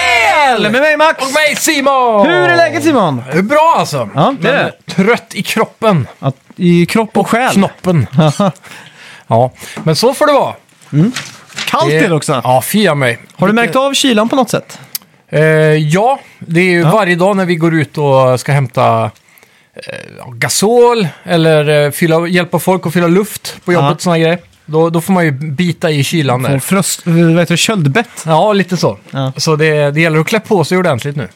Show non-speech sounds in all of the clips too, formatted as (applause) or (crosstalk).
Kalle med mig Max! Och mig Simon! Hur är läget Simon? Det är bra alltså. Ja, det är Men trött i kroppen. Att, I kropp och själ. (laughs) Knoppen. ja, men så får det vara. Kallt är det också. Ja, fia mig. Har du märkt av kylan på något sätt? Eh, ja, det är ju varje dag när vi går ut och ska hämta eh, gasol eller eh, fylla, hjälpa folk att fylla luft på jobbet, Ja. ja. sådana grejer. Då, då får man ju bita i kylan Får där. fröst, eh, vad heter det, köldbett? Ja, lite så. Ja. Så det, det gäller att klä på sig ordentligt nu.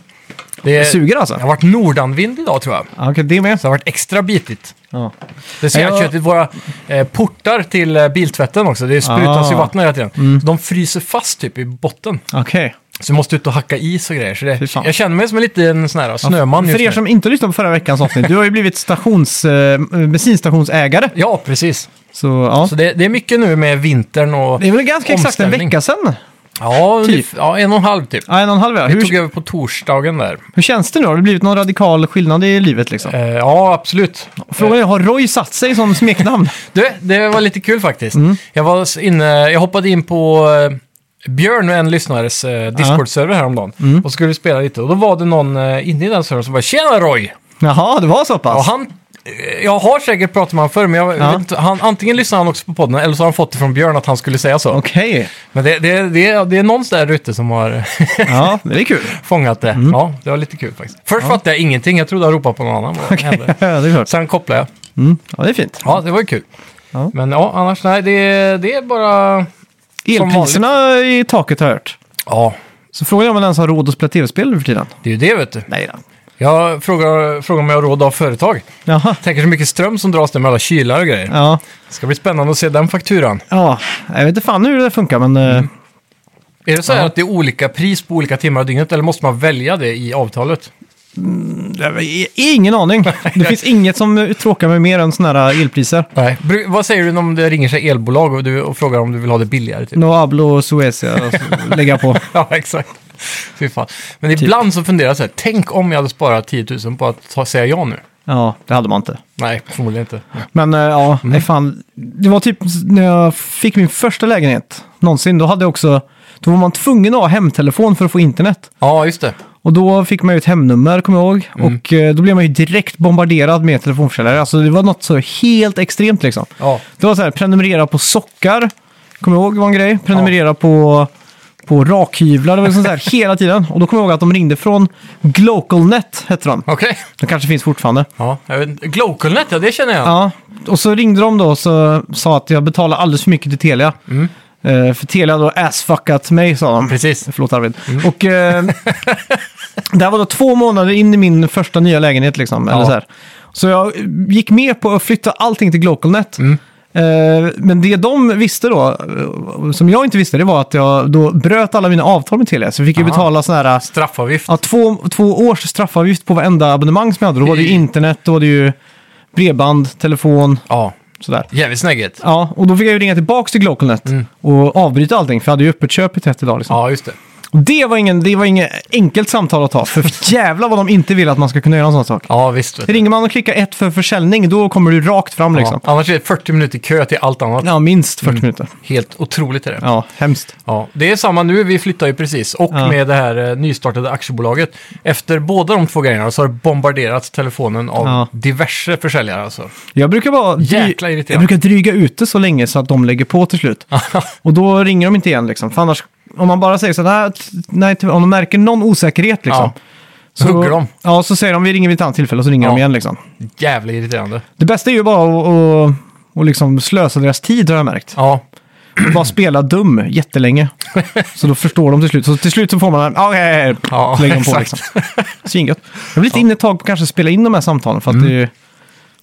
Det Det, suger det alltså? har varit nordanvind idag tror jag. Eh, Så Ja, okej, det med. det har varit extra bitigt. Ja. Det ser Ja, jag- jag köttet våra eh, portar till eh, biltvätten också. Det sprutas Ah. ju vatten hela tiden. Så de fryser fast typ i botten. Okej. Så vi måste ut och hacka is och grejer. Så Fy det, fan. jag känner mig som en liten sån här snöman För just er nu. som inte lyssnade på förra veckans avsnitt, du har ju blivit stations, eh, bensinstationsägare. Ja, precis. Så ja. Så det, det är mycket nu med vintern och... Det är väl ganska exakt en Omställning. vecka sedan? Ja, Typ. ungef- ja, en och en halv typ. Ja, en och en halv ja. Vi tog hur, över på torsdagen där. hur känns det nu? Har det blivit någon radikal skillnad i livet liksom? Eh, ja, absolut. Frågan är, har Roy satt sig (laughs) som smeknamn? Du, det var lite kul faktiskt. Mm. Jag, var s- inne, jag hoppade in på eh, Björn, en lyssnares eh, Discord-server häromdagen. Mm. Och skulle spela lite. Och då var det någon eh, inne i den servern som bara “Tjena Roy!” Jaha, det var så Och pass? han, eh, jag har säkert pratat med honom förr, men jag Alltså. Ja. vet inte, han, antingen lyssnar han också på podden eller så har han fått det från Björn att han skulle säga så. Okej. Men det, det, det, det är någon där ute som har (laughs) Ja, det är kul. fångat det. Mm. Ja, det var lite kul faktiskt. Först fattade jag ingenting, jag trodde han ropade på någon annan. Vad hände? det är klart. Sen kopplade jag. Mm. Ja, det är fint. Ja, det var ju kul. Ja. Men ja, annars nej, det, det är bara... Elpriserna är i taket har jag hört. Ja, Så frågan är om man ens har råd att spela tv-spel nu för tiden. det är ju det vet du. Nej då. Jag frågar, frågar om jag har råd av företag. Jaha. Tänker så mycket ström som dras där med alla kylar och grejer. Ja. Det ska bli spännande att se den fakturan. ja, jag vet inte fan hur det funkar men... eh, Är det så här Ja. att det är olika pris på olika timmar av dygnet eller måste man välja det i avtalet? jag har ingen aning. Det finns inget som eh, tråkar mig mer än sådana här eh, elpriser. Nej. Bru- Vad säger du om det ringer sig elbolag och, du, och frågar om du vill ha det billigare? Typ? No hablo suecia att lägga på. (laughs) Ja, exakt. Fy fan. Men ibland så funderar jag så här, tänk om jag hade sparat 10 000 på att ta, säga ja nu. Ja, det hade man inte. Nej, förmodligen inte. Men eh, ja, nej fan. Det var typ när jag fick min första lägenhet någonsin. Då hade jag också... Då var man tvungen att ha hemtelefon för att få internet. Ja, just det. Och då fick man ju ett hemnummer, kommer jag ihåg. Och eh, då blev man ju direkt bombarderad med telefonförsäljare. Alltså det var något så helt extremt liksom. Ja. Det var så här, prenumerera på sockar. Kommer jag ihåg var en grej. Prenumerera på, på rakhyvlar. Det var liksom så här hela tiden. Och då kommer jag ihåg att de ringde från Glocalnet, hette de. Okej. De kanske finns fortfarande. Ja, jag vet inte. Glocalnet, ja det känner jag. Ja, och så ringde de då och så sa att jag betalar alldeles för mycket till Telia. Eh, för Telia då assfuckat mig, sa de. Precis. Förlåt Arvid. Mm. (laughs) Och eh, det här var då två månader in i min första nya lägenhet liksom. Eller Ja. så, här. så jag gick med på att flytta allting till Glocalnet. Mm. Eh, Men det de visste då, eh, som jag inte visste, det var att jag då bröt alla mina avtal med Telia. Så vi fick ju Aha. betala sådana här Straffavgift. Ja, två, två års straffavgift på varenda abonnemang som jag hade. Då var det ju Fy. internet, då var det ju bredband, telefon, Ja, sådär. jävligt snägget. Ja, och då fick jag ju ringa tillbaka till Glocalnet Mm. och avbryta allting, för jag hade ju öppet köp i 30 dagar. Liksom. Ja, just det. Och det var, ingen, det var inget enkelt samtal att ta, för jävla vad de inte vill att man ska kunna göra en sån sak. Ja, visst. Vet du. Ringer man och klickar ett för försäljning, då kommer du rakt fram liksom. Ja. Mm. Annars är det 40 minuter kö till allt annat. Ja, minst 40 minuter. Helt otroligt är det. Ja, hemskt. Ja, det är samma nu, vi flyttar ju precis. Och Ja. med det här eh, nystartade aktiebolaget. Efter båda de två grejerna så har det bombarderats telefonen av Ja. diverse försäljare alltså. Jag brukar bara dry- Jäkla irriterande. jag brukar dryga ut det så länge så att de lägger på (laughs) till slut. och då ringer de inte igen liksom. För annars, om man bara säger så här, "Nej, t- nej, tyvärr." om de märker någon osäkerhet liksom. Ja. så hugger de. Ja, så säger de vi ringer vid ett annat tillfälle och så ringer Ja. de igen liksom. Jävla irriterande. Det bästa är ju bara att och, och liksom slösa deras tid har jag märkt. Ja, Bara spela dum jättelänge. så då förstår de till slut. Så till slut så får man, "Ah, okej, Ja, så lägger de på exakt. liksom. Svingött. Jag blir lite inne ett tag på att kanske spela in de här samtalen Mm. för att det är ju-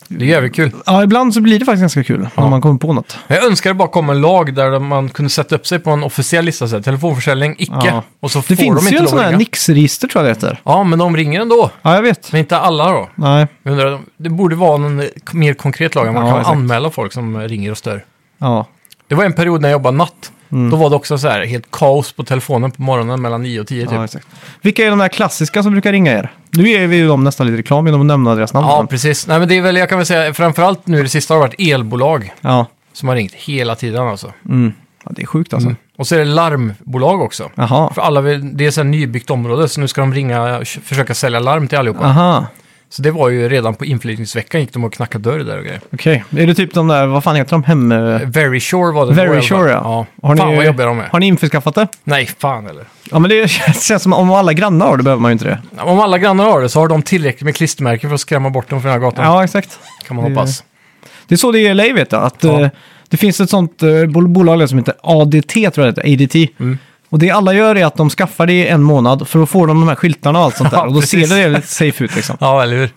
det är jävligt kul. Ja, ibland så blir det faktiskt ganska kul när man kommer på något. Jag önskar det bara kom en lag där man kunde sätta upp sig på en officiell lista. Så här, telefonförsäljning, icke. Ja. Och så får Det de finns inte ju en lov sån att här ringa. Nix-register tror jag det heter. Ja, men de ringer ändå. Ja, jag vet. Men inte alla då. Nej, Jag undrar, det borde vara någon mer konkret lag. Man Ja, kan exakt. anmäla folk som ringer och stör. ja. Det var en period när jag jobbade natt. Mm. Då var det också så här helt kaos på telefonen på morgonen mellan 9 och 10 typ. ja Ja, exakt. Vilka är de där klassiska som brukar ringa er? Nu ger vi ju dem nästan lite reklam genom att nämna deras namn. precis. Nej, men det är väl, jag kan väl säga, framförallt nu det sista har det varit elbolag ja. Mm. som har ringt hela tiden alltså. Ja, det är sjukt alltså. Och så är det larmbolag också. Jaha. För alla vill, det är ett nybyggt område, så nu ska de ringa och försöka sälja larm till allihopa. Aha, Så det var ju redan på inflyttningsveckan gick de och knackade dörr där och grejer. okej. Är det typ de där, vad fan heter de, hem... eh, Very Sure var det. på i Very alla fall. Sure ja. ja. Har ni, fan vad jobbiga de är. Har ni införskaffat det? Nej, fan eller. Ja men det (laughs) känns som om alla grannar har det behöver man ju inte det. Om alla grannar har det så har de tillräckligt med klistermärken för att skrämma bort dem från den här gatan. Ja exakt. Kan man hoppas. Det är så det är i LA vet jag. Att, Ja. eh, det finns ett sånt eh, bol- bolag där som heter ADT tror jag det heter, ADT. Mm. Och det alla gör är att de skaffar det i en månad för då får de de här skyltarna och (laughs) allt sånt där. Ja, och då precis. ser det lite safe ut liksom. Ja, eller hur? Eh,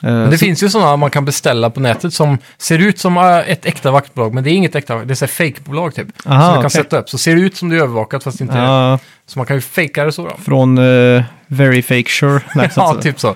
(laughs) Men det så- finns ju sådana man kan beställa på nätet som ser ut som eh, ett äkta vaktbolag, men det är inget äkta, det är så här fake-bolag typ. Aha, som du kan okej. sätta upp, så ser det ut som det är övervakat fast det inte är det. ja, Så man kan ju fejka det så då. från eh, Very Fake Sure. Nej, så (laughs) att ja, säga. typ så.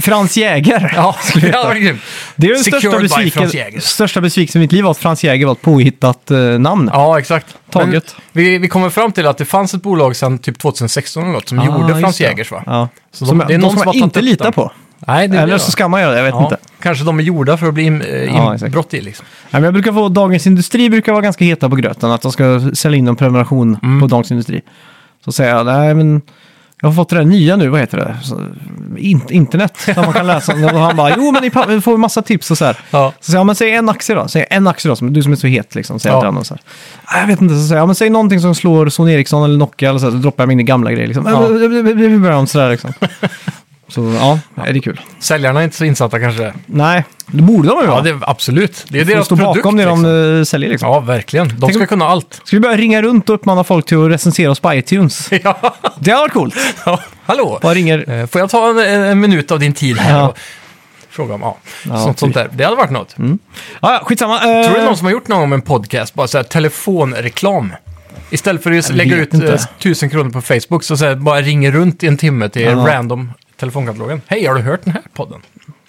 Frans Jäger. Ja, (laughs) skulle det jag var heta. grymt. Det är den Secured största, by Franz besviken, Jäger. största besvikelsen i mitt liv var att Frans Jäger var ett påhittat eh, namn. Ja, exakt. Taget. Men Vi, vi kommer fram till att det fanns ett bolag sedan typ 2016 eller något som gjorde Ah, Franz just det. Jägers va? Ja. Så de- som, det är de någon som som man har inte tagit upp litar dem. på. Nej, det Eller det, så va? ska man göra det, jag vet Ja, inte. Kanske de är gjorda för att bli in, eh, Ja, exakt. inbrott i liksom. Nej, men jag brukar få Dagens Industri brukar vara ganska heta på gröten. Att de ska sälja in en prenumeration Mm. på Dagens Industri. Så säger jag, nej men jag har fått det där nya nu, vad heter det? Så, in, internet, där man kan läsa. om det." och han bara, jo men ni pa- får massa tips och så här. Ja. Så säger jag, "Ja, men säg en aktie då. Säg en aktie då, som, du som är så het liksom. Säger Ja. jag till honom så här. "Nej, Jag vet inte, så säger jag, "Ja, men säg någonting som slår Sony Ericsson eller Nokia eller så här. Så droppar jag min gamla grej liksom. Ja. Ja. Vi börjar om (laughs) sådär liksom. Så ja, det är kul. Säljarna är inte så insatta kanske. Nej, det borde de ju vara. Ja, det, absolut. Det är de deras står produkt. bakom det liksom. de eh, säljer liksom. Ja, verkligen. De Tänk ska om- kunna allt. (laughs) Ska vi börja ringa runt och uppmana folk till att recensera oss på iTunes? Ja, Det hade varit coolt. ja. Hallå! Bara ringer... Eh, Får jag ta en, en minut av din tid här Ja. och fråga om... Ja, Ja, typ. Mm. sånt, sånt där. Det hade varit något. Ja, ja, skitsamma. Eh, Tror du det är någon som har gjort någon gång en podcast, bara så här telefonreklam? Istället för att just Jag lägga vet ut inte. eh, tusen kronor på Facebook så, så här, bara ringer runt i en timme till Ja. random telefonkatalogen. Hej, har du hört den här podden?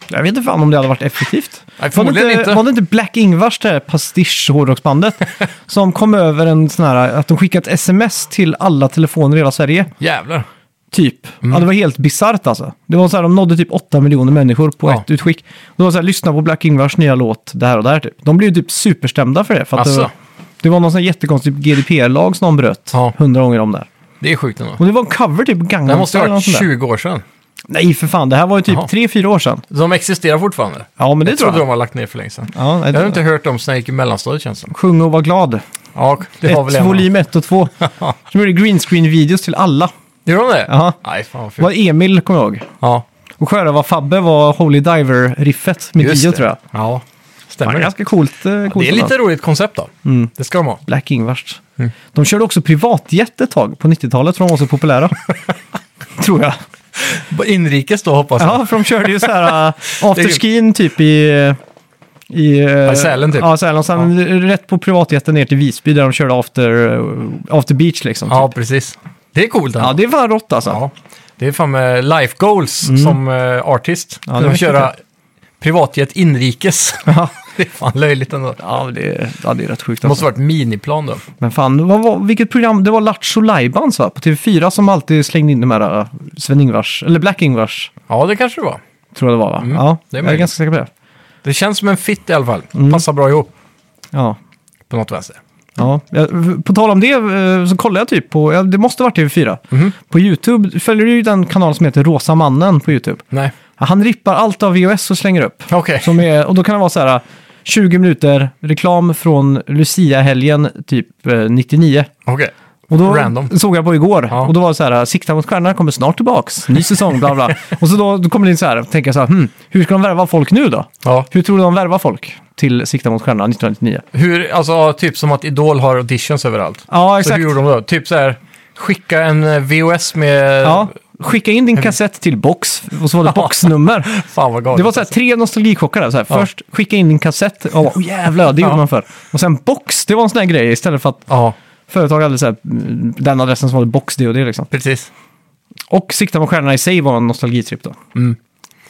Jag vet inte fan om det hade varit effektivt. Nej, var, det förmodligen inte. var det inte Black-Ingvars, det här pastisch-hårdrocksbandet, (laughs) som kom över en sån här, att de skickat sms till alla telefoner i hela Sverige? Jävlar. Typ. Mm. Ja, det var helt bisarrt alltså. Det var så här, de nådde typ 8 miljoner människor på Ja. ett utskick. Det var så här, lyssna på Black-Ingvars nya låt, det här och det här typ. De blev ju typ superstämda för det. För att det, Asså. var, det var någon sån här jättekonstig GDPR-lag som de bröt Ja. hundra gånger om där. Det är sjukt ändå. Och det var en cover typ, Gangnam Det här måste Style ha eller något varit sånt där. 20 år sedan. Nej, för fan. Det här var ju typ Jaha. 3-4 år sedan. De existerar fortfarande. Ja, men det jag tror trodde jag. de har lagt ner för länge sedan. Ja, nej, Jag har det inte hört dem sen jag gick i mellanstadiet känns det som. Sjung och var glad. Ja, det var väl Ett, en. volym 1 (laughs) och 2. Som gjorde greenscreen-videos till alla. Gjorde de det? Ja. Nej, fan vad Det fult. var Emil, kommer jag ihåg. Ja, Och Sjörövar-Fabbe var Holy Diver-riffet med just Dio, det. tror jag. Ja, Det var stämmer. ganska coolt. eh, coolt det är ändå. Mm. lite Mm. roligt koncept då. Det ska de ha. Black Ingvars. De körde också privatjet ett tag på 90-talet för de var (laughs) så populära. tror jag. Inrikes då hoppas jag. Ja, för de körde ju så (laughs) här äh, Det är afterskin typ i... eh, I, eh, i Sälen, typ. Ja, Sälen. Och sen rätt på privatjeten ner till Visby där de körde after, eh, after beach liksom. Ja, typ. precis. Det är coolt. ja Ja, det är fan rått alltså. ja. Det är fan med life goals som uh, artist. det Ja, är de köra privatjet inrikes. Ja. (laughs) det är fan löjligt ändå. Ja, men det, ja, det är rätt sjukt Det måste alltså. ha varit miniplan då. Men fan, vad var, vilket program? Det var Lattjo Lajbans va? På TV4 som alltid slängde in de här äh, Sven-Ingvars, eller Black-Ingvars, Ja, det kanske det var. tror jag det var va? ja, Mm. det är jag är möjligt. ganska säker på det. Det känns som en fit i alla fall. Mm. Passar bra ihop Ja, på något vänster. Ja, jag- på tal om det eh, så kollade jag typ på, ja, det måste varit TV4, Mm-hmm. på YouTube, följer du ju den kanal som heter Rosa mannen på YouTube? Nej, Ja, Han rippar allt av VHS och slänger upp. okej. Som är, och då kan det vara så här, 20 minuter reklam från Lucia-helgen typ eh, 99. Okej. Och då Random. såg jag på igår, Ja. och då var det så här, eh, Sikta mot stjärnorna kommer snart tillbaks, ny säsong, (laughs) bla bla. och så då, då kommer det in så här, tänker jag så här, hmm, hur ska de värva folk nu då? Ja. Hur tror du de värvar folk till Sikta mot stjärnorna 1999? Hur, alltså typ som att Idol har auditions överallt. Ja, Så exakt. hur gjorde de då? Typ så här, skicka en eh, VOS med... Ja, Eh, skicka in din kassett till box och så var det (laughs) boxnummer. Fan vad galet. Det var så här tre nostalgichocker där. Så här. Ja. Först skicka in din kassett, oh, jävlar, det gjorde Ja. man för. Och sen box, det var en sån här grej istället för att Ja, företag hade så här, mm, den adressen som var det box, det och det liksom. precis. Och Sikta mot stjärnorna i sig var en nostalgitripp då. Mm.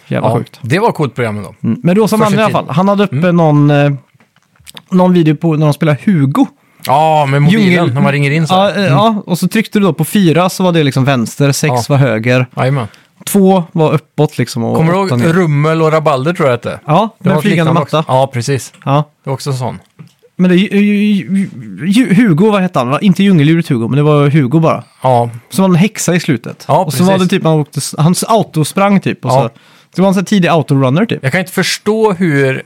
Jävla Ja, Mm. sjukt. det var coolt program ändå. Mm. Men Första Rosa Mannen i alla tiden. fall, han hade uppe någon, eh, någon video på när de spelade Hugo. Ja, med mobilen Djungel- när man ringer in så Ja, här. Mm. eh, ja, och så tryckte du då på fyra så var det liksom vänster, sex Ja. var höger, Jajamän. två var uppåt liksom. Och Kommer du åtta ihåg ner. Rummel och Rabalder tror jag hette? Det Ja, var den ett flygande liknande matta. också. Ja, precis. Ja. Det var också en sån. Men det är ju- ju- ju- Hugo, vad hette han? va? Inte djungeldjuret Hugo, men det var Hugo bara. Ja, Så var det en häxa i slutet. Ja, och så var det precis. typ, han, åkte, han autosprang typ. Och Ja. så, det var en sån här tidig autorunner typ. jag kan inte förstå hur...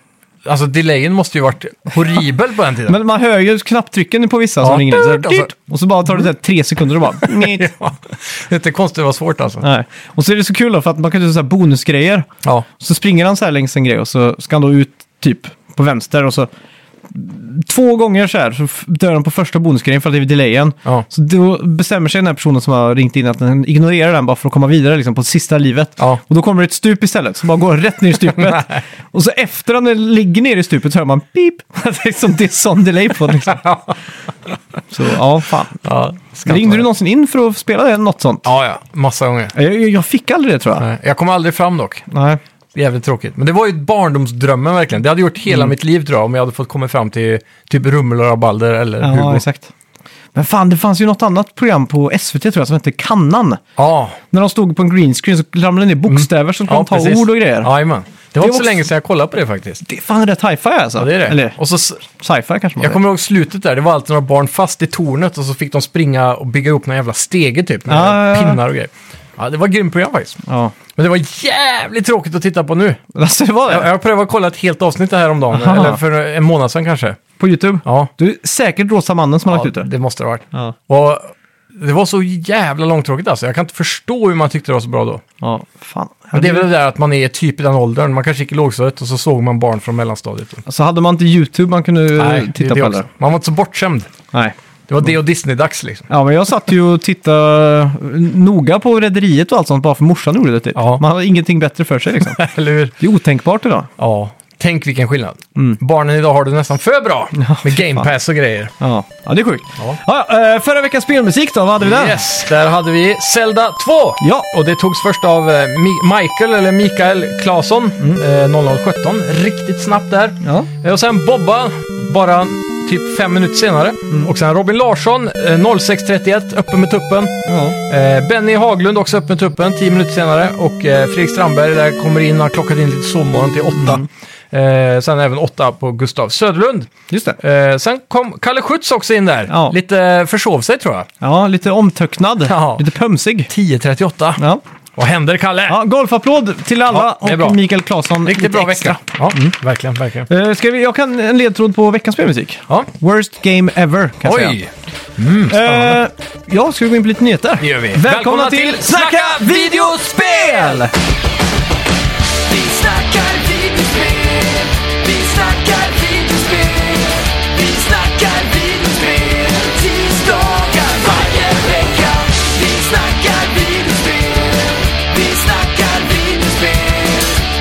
Alltså delayen måste ju varit horribel på den tiden. Men man hör ju knapptrycken på vissa Ja. som ringer in. Så här, Dyrt, alltså. dyrt. Och så bara tar det så här tre (laughs) sekunder och bara... njet. Ja, (laughs) det är inte konstigt vad svårt alltså. Nej. Och så är det så kul då, för att man kan göra så här bonusgrejer. Ja, Så springer han så här längs en grej och så ska han då ut typ på vänster och så... Två gånger så här så f- dör han på första bonusgrejen för att det är delayen. ja, Så då bestämmer sig den här personen som har ringt in att den ignorerar den bara för att komma vidare liksom, på sista livet. ja. Och då kommer det ett stup istället, som bara går rätt ner (laughs) i stupet. och så efter han ligger ner i stupet så hör man pip. (laughs) det är liksom det är sån delay på den, liksom. Så ja, fan. ja ska inte Ringde vara du det. någonsin in för att spela det, något sånt? Ja, ja, massa gånger. Jag, jag, jag fick aldrig det tror jag. Nej, Eh, Jag kom aldrig fram dock. Nej. Jävligt tråkigt. Men det var ju barndomsdrömmen verkligen. Det hade gjort hela Mm. mitt liv tror jag om jag hade fått komma fram till typ Rummel och Rabalder eller Ja, Hugo. exakt. Men fan, det fanns ju något annat program på SVT tror jag som hette Kannan. Ja, När de stod på en green screen så ramlade det ner bokstäver så skulle Mm. ja de ta precis. ord och grejer. Jajamän. Det var inte så Det också- länge sedan jag kollade på det faktiskt. Det är fan rätt hi-fi alltså. Ja, det är det. Eller Och så, s- sci-fi kanske man jag säger. kommer ihåg slutet där, det var alltid några barn fast i tornet och så fick de springa och bygga upp några jävla stege typ, med Ja, ja, ja. pinnar och grejer. Ja, det var ett grymt program faktiskt. Ja. (laughs) Men det var jävligt tråkigt att titta på nu. Alltså, det var det. Jag, jag prövade att kolla ett helt avsnitt här om dagen, Aha. eller för en månad sedan kanske. På YouTube? Ja, Du är säkert rosa mannen som har ja lagt ut det. det måste det ha varit. Ja. Och det var så jävla långtråkigt alltså. Jag kan inte förstå hur man tyckte det var så bra då. ja, fan. Men det är väl det där att man är typ i den åldern. Man kanske gick i lågstadiet och så såg man barn från mellanstadiet. Alltså hade man inte YouTube man kunde eh, Nej, det är titta det på också. eller? Man var inte så bortskämd. Nej. Det var det och Disney-dags (laughs) liksom. Ja, men jag satt ju och tittade eh, noga på Rederiet och allt sånt bara för morsan gjorde det typ. Ja. Man hade ingenting bättre för (laughs) sig liksom. Eller hur? Det är otänkbart idag. Ja, tänk vilken skillnad. Barnen idag har det nästan för (laughs) bra. Med Mm. fy Game fan. Pass och grejer. Ja, ja det är sjukt. Ja. Ja. eh, förra veckans spelmusik då, vad hade vi där? Yes, där hade vi Zelda 2. Ja. Och det togs först av eh, Mi- Michael, eller Mikael Claesson, Mm. eh, 0017. Riktigt snabbt där. Ja. Eh, Och sen Bobba, bara typ fem minuter senare. Mm. Och sen Robin Larsson, eh, 0631, öppen med tuppen. Ja. Eh, Benny Haglund också öppen med tuppen, tio minuter senare. Och eh, Fredrik Strandberg där kommer in, har klockat in lite sovmorgon till Mm. åtta. Eh, sen även åtta på Gustav Söderlund. Just det. Eh, sen kom Kalle Schütz också in där. Ja. Lite eh, försov sig tror jag. Ja, lite omtöcknad. Ja. Lite pömsig. 10.38. Ja. Vad händer Kalle? ja, golfapplåd till alla Ja, det är bra. och Mikael Claesson. Riktigt lite bra extra. Mm. vecka. Ja, verkligen, verkligen. Eh, ska vi, jag kan en ledtråd på veckans spelmusik. Ja. Worst game ever, kan jag säga. Oj, Mm. Eh, ja, ska vi gå in på lite nyheter? det gör vi. Välkomna, till Snacka videospel! Vi snackar videospel, vi snackar videospel, vi snackar videospel, tisdagar varje vecka. Vi snackar videospel, vi snackar videospel,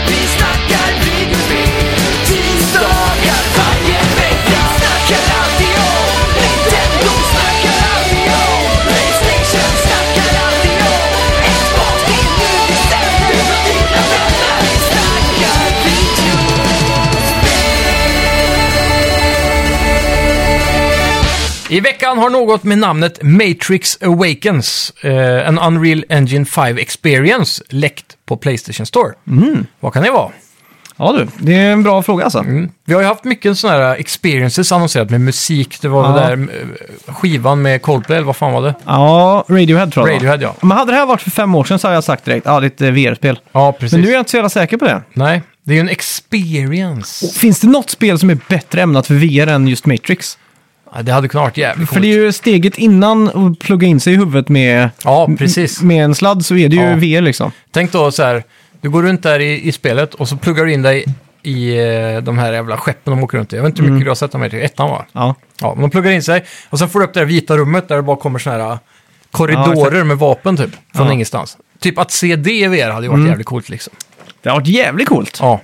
vi snackar videospel, tisdagar varje vecka. Snackar alltid om Nintendo, snackar alltid om Playstation, snackar alltid om Xbox, det är nu vi sänder för dina vänner. Vi snackar video. I veckan har något med namnet Matrix Awakens, eh, en Unreal Engine 5 Experience, läckt på Playstation Store. Mm. Vad kan det vara? Ja du, det är en bra fråga alltså. Mm. Vi har ju haft mycket sådana här experiences annonserat med musik. Det var Ja. det där eh, skivan med Coldplay, eller vad fan var det? Ja, Radiohead tror jag det var. Radiohead, ja. Men hade det här varit för fem år sedan så hade jag sagt direkt, ja ah, det är ett eh, VR-spel. Ja, precis. Men nu är jag inte så jävla säker på det. Nej, det är ju en experience. Finns det något spel som är bättre ämnat för VR än just Matrix? Ja, det hade kunnat varit jävligt För det är ju steget innan att plugga in sig i huvudet med, Ja, precis. med en sladd så är det ju Ja. VR liksom. Tänk då så här, du går runt där i, i spelet och så pluggar du in dig i eh, de här jävla skeppen de åker runt i. Jag vet inte hur Mm. mycket du har sett dem här till ettan va? Ja. Ja, men de pluggar in sig och sen får du upp det här vita rummet där det bara kommer såna här äh, Ja, korridorer exakt. med vapen typ, från Ja. Mm. ingenstans. Typ att se det i VR hade ju varit jävligt coolt liksom. Det har varit jävligt coolt. Ja.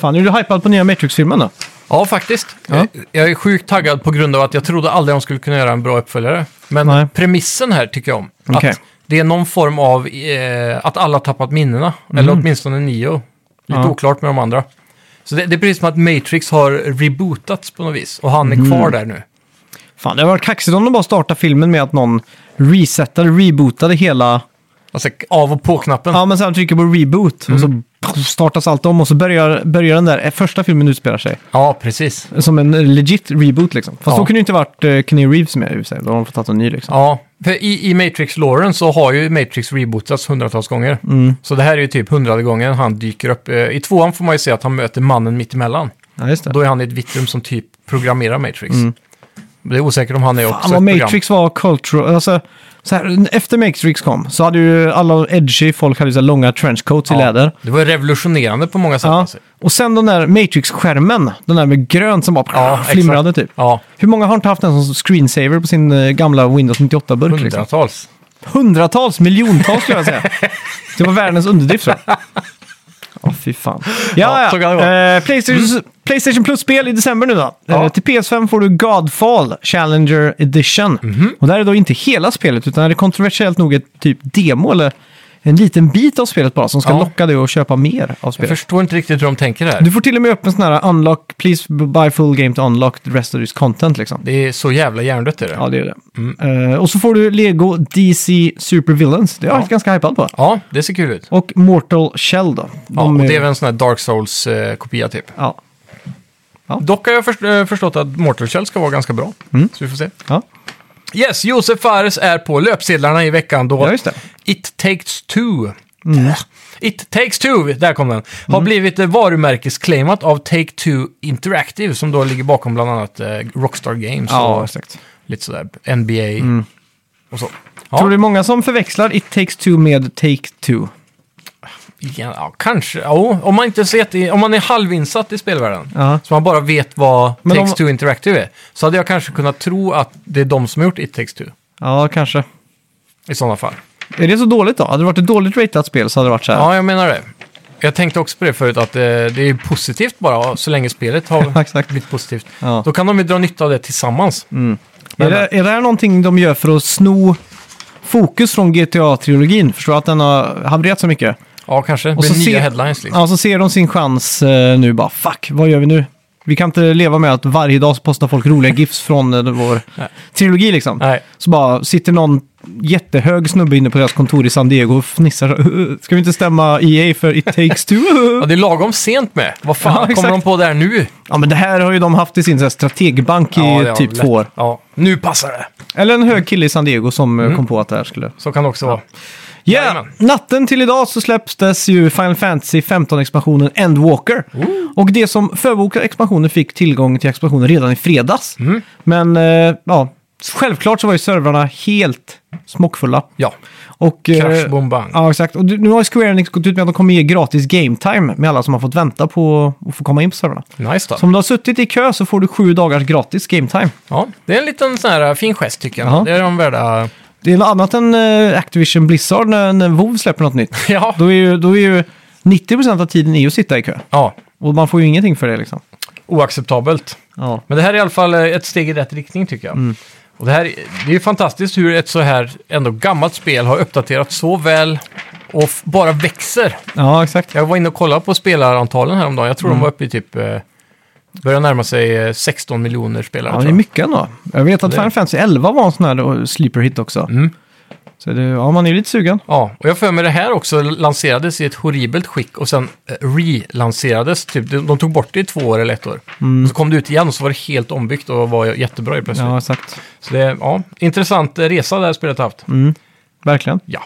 Fan, är du hypad på nya Matrix-filmen då? Ja, faktiskt. Ja. Jag, jag är sjukt taggad på grund av att jag trodde aldrig de skulle kunna göra en bra uppföljare. Men Nej. premissen här tycker jag om. Okej. Att det är någon form av eh, att alla har tappat minnena. Eller åtminstone nio. Lite Mm. Ja. oklart med de andra. Så det, det är precis som att Matrix har rebootats på något vis. Och han är Mm. kvar där nu. Fan, det hade varit kaxigt om de bara startade filmen med att någon resetade, rebootade hela... Alltså av och på-knappen. Mm. Ja, men sen trycker på reboot och så startas allt om och så börjar, börjar den där eh, första filmen utspela sig. Ja, precis. Som en legit reboot liksom. Fast Ja. då kunde ju inte varit eh, Kenny Reeves med i och för sig. Då har de fått ta en ny liksom. Ja, för i, i Matrix Lauren så har ju Matrix rebootats hundratals gånger. Mm. Så det här är ju typ hundrade gången han dyker upp. Eh, I tvåan får man ju se att han möter mannen mittemellan. Ja, just det. Då är han i ett vitt rum som typ programmerar Matrix. Det är osäkert om han är också Mm. Fan Alltså, ett program. vad Alltså, Matrix var cultural, alltså, så här, efter Matrix kom så hade ju alla edgy folk hade ju så här långa trenchcoats i Ja, läder. Det var ju revolutionerande på många sätt. Ja. alltså. Och sen den där Matrix-skärmen, den där med grönt som bara Ja, flimrade typ. Ja, Hur många har inte haft den som screensaver på sin eh, gamla Windows 98-burk? Liksom? hundratals. Hundratals, miljontals skulle jag säga. Det var världens underdrift tror jag. Ja, fy fan. Ja, Ja, så ja. kan det vara. Mm. Eh, Playstation, Playstation Plus-spel i december nu då. Ja. Eh, till PS5 får du Godfall Challenger Edition. Mhm. Och där är då inte hela spelet, utan det är kontroversiellt nog ett typ demo eller en liten bit av spelet bara som ska Ja. locka dig att köpa mer av Jag spelet. förstår inte riktigt hur de tänker här. Du får till och med upp en sån här unlock, please buy full game to unlock the rest of this content liksom. Det är så jävla hjärndött är det. Ja. Ja, det är det. Eh, och så får du Lego DC Super Villains. Det är jag Ja. varit ganska hypad på. det ser kul ut. Och Mortal Shell då. Ja, och De är- det är väl en sån här Dark Souls-kopia typ. ja. Dock har jag först- eh, förstått att Mortal Shell ska vara ganska bra. Mm. Så vi får se. Ja. Yes, Josef Fares är på löpsedlarna i veckan då ja, just det. Mm. It takes two. It takes two, där kom den. Har blivit eh, varumärkesclaimat av Take-Two Interactive som då ligger bakom bland annat eh, Rockstar Games Ja, och exakt. lite sådär NBA och så. Ja, Tror det är många som förväxlar It takes two med Take two? ja, ja, kanske. Ja, om, man inte sett i, om man är halvinsatt i spelvärlden, Ja. så man bara vet vad Men om- Takes-Two Interactive är, så hade jag kanske kunnat tro att det är de som har gjort It takes two Ja, kanske. i sådana fall. Är det så dåligt då? Hade det varit ett dåligt ratat spel så hade det varit så här. Ja, jag menar det. Jag tänkte också på det förut, att eh, det är positivt bara, så länge spelet (laughs) Ja, har exakt. blivit positivt. Ja. Mm. Då kan de ju dra nytta av det tillsammans. är, det, är det här någonting de gör för att sno fokus från GTA-trilogin? Förstår du att den har havererat så mycket? Ja, kanske. Det blir så nya ser- headlines liksom. Ja, så ser de sin chans eh, nu bara fuck, vad gör vi nu? Vi kan inte leva med att varje dag så postar (laughs) folk roliga GIFs från eh, vår Nej. trilogi liksom. Nej. Så bara sitter någon jättehög snubbe inne på deras kontor i San Diego och fnissar. (laughs) så, "Uh, Ska vi inte stämma EA för It takes two? (laughs) Ja, det är lagom sent med. Vad Ja, fan exakt. kommer de på där nu? ja, men det här har ju de haft i sin så här, strategbank i Ja, det har typ lätt- två år. Ja, nu passar det. Eller en hög kille i San Diego som eh, Mm. kom på att det här skulle... Så kan det också vara. Ja, Jajamän. natten till idag så släpptes ju Final Fantasy 15-expansionen Endwalker. Och det som förbokade expansionen fick tillgång till expansionen redan i fredags. Mm. Men eh, ja, självklart så var ju servrarna helt smockfulla. Ja, Och, eh, crash, boom, bang. Ja, exakt. Och du- nu har ju Square Enix gått ut med att de kommer ge gratis game time med alla som har fått vänta på att få komma in på servrarna. Nice då. Så om du har suttit i kö så får du sju dagars gratis game time. Ja, det är en liten sån här eh, fin gest tycker jag. Ja. Det är de värda... (laughs) Det är något annat än eh, Activision Blizzard när, när WoW släpper något nytt. Ja. Då är ju, då är ju 90% av tiden är ju att sitta i kö. ja, Och man får ju ingenting för det liksom. oacceptabelt. Ja, Men det här är i alla fall eh, ett steg i rätt riktning tycker jag. Mm. Och det, här, det är ju fantastiskt hur ett så här ändå gammalt spel har uppdaterats så väl och f- bara växer. ja exakt. Jag var inne och kollade på spelarantalen häromdagen. Jag tror Mm. de var uppe i typ... Eh, börjar närma sig eh, 16 miljoner spelare. Ja, det tror är jag. mycket ändå. Jag vet att Det- Final Fantasy 11 var en sån här eh, sleeper hit också. Så det, ja, man är ju lite sugen. ja, och jag för mig det här också lanserades i ett horribelt skick och sen eh, relanserades. Typ, de, de tog bort det i två år eller ett år. Och så kom det ut igen och så var det helt ombyggt och var jättebra helt plötsligt. Mm. Ja, exakt. Så det, ja, intressant eh, resa det här spelet har haft. Verkligen. Ja.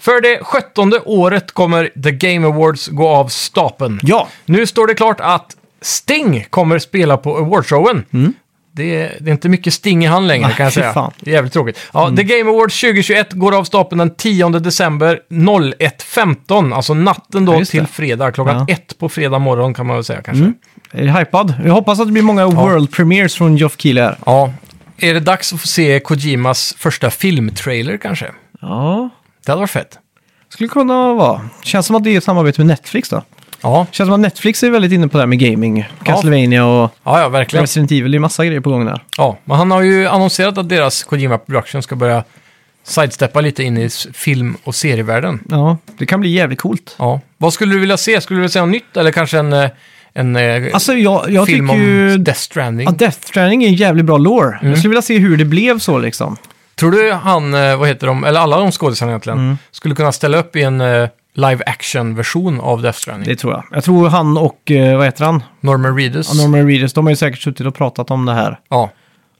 För det sjuttonde året kommer The Game Awards gå av stapeln. Ja, Nu står det klart att Sting kommer spela på awardshowen. Det, är- det är inte mycket Sting i han längre Mm. Nej, kan jag fy säga. fan. Mm. Det är jävligt tråkigt. Ja, The Game Awards 2021 går av stapeln den 10 december 01.15. Alltså natten då Ja, just det. till fredag. Klockan Ja. Mm. ett på fredag morgon kan man väl säga kanske. jag är hypad. Jag hoppas att det blir många world premiers från Geoff Keighley här. Ja. Är det dags att få se Kojimas första filmtrailer kanske? Ja, Det hade varit fett. skulle kunna vara. Känns som att det är ett samarbete med Netflix då. Ja, Känns som att Netflix är väldigt inne på det här med gaming. Castlevania och ja, ja verkligen. Resident Evil. Det är massa grejer på gång där. Ja, men han har ju annonserat att deras Kojima Production ska börja sidesteppa lite in i s- film och serievärlden. Ja, det kan bli jävligt coolt. Ja. Vad skulle du vilja se? Skulle du vilja se något nytt eller kanske en, eh, en eh, Alltså jag, jag film tycker om ju... Death Stranding? Ja, Death Stranding är en jävligt bra lore. Mm. Jag skulle vilja se hur det blev så liksom. Mm. Tror du han, eh, vad heter de, eller alla de skådisarna egentligen, skulle kunna ställa upp i en eh, live action-version av Death Stranding. Det tror jag. Jag tror han och, eh, vad heter han? Norman Reedus. Ja, Norman Reedus, de har ju säkert suttit och pratat om det här. Ja,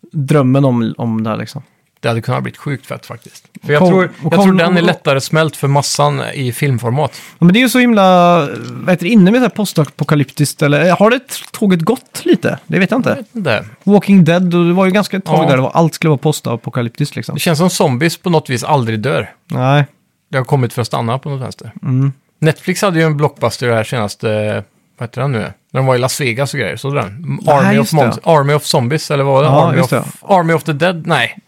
Drömmen om, om det här liksom. det hade kunnat bli sjukt fett faktiskt. För jag Kom- tror, och jag kom- tror den är lättare smält för massan i filmformat. Ja, men det är ju så himla, eh, vad heter det, inne med det här postapokalyptiskt eller eh, har det tåget gått lite? Det vet jag Jag inte. vet inte. Walking Dead, och det var ju ganska ett tag Ja. där det var, allt skulle vara postapokalyptiskt liksom. Det känns som zombies på något vis aldrig dör. Nej, Det har kommit för att stanna på något vänster. Mm. Netflix hade ju en blockbuster här senast, eh, vad heter den nu? När de var i Las Vegas och grejer, såg du den? M- Nej, Army, just of det. Moms, Army of Zombies, eller vad var det? Ja, Army, just det. of, Army of the Dead? Nej.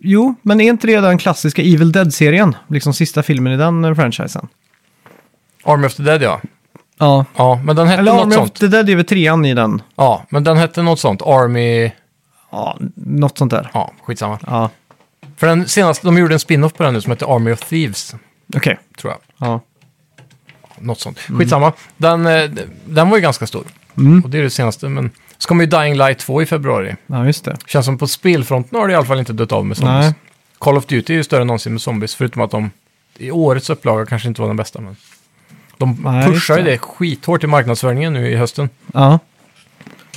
jo, men är inte det den klassiska Evil Dead-serien? Liksom sista filmen i den eh, franchisen. Army of the Dead, ja. Ja. Ja, men den hette Eller något Army of sånt. the Dead är väl trean i den? Ja, men den hette något sånt. Army... Ja, något sånt där. Ja, skitsamma. Ja, För den senaste, de gjorde en spin-off på den nu som hette Army of Thieves, okej. tror jag. Ja. Något sånt. Mm. Skitsamma. Den, eh, den var ju ganska stor. Och det är det senaste, men... Så kommer ju Dying Light 2 i februari. ja, just det. Känns som på spelfronten har det i alla fall inte dött av med zombies. Nej. Call of Duty är ju större än någonsin med zombies, förutom att de i årets upplaga kanske inte var den bästa. Men de Nej, pushar ju just det. det skithårt i marknadsföringen nu i hösten. Ja.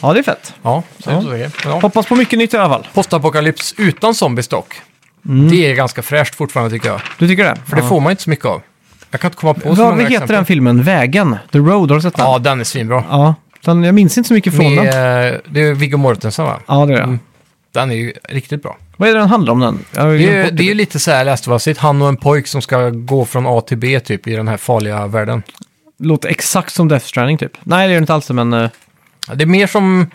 ja, det är fett. Ja, så Ja. är det så säkert. Men ja. Hoppas på mycket nytt i alla fall. Postapokalyps utan zombies dock. Mm. Det är ganska fräscht fortfarande tycker jag. Du tycker det? För det får man inte så mycket av. Jag kan inte komma på så Vad många heter exempel. den filmen? Vägen? The Road, har du sett den? Ja, den är svinbra. ja. Den, jag minns inte så mycket från Med, den. eh, det är Viggo Mortensen va? Ja, det gör jag. Mm. Den är ju riktigt bra. Vad är det den handlar om den? Jag har ju Det är, glömt ju, bort det är ju lite så här, jag läste vad jag sett, han och en pojk som ska gå från A till B typ i den här farliga världen. Låter exakt som Death Stranding typ. Nej, det gör det inte alls men... eh, Ja, Det är mer som,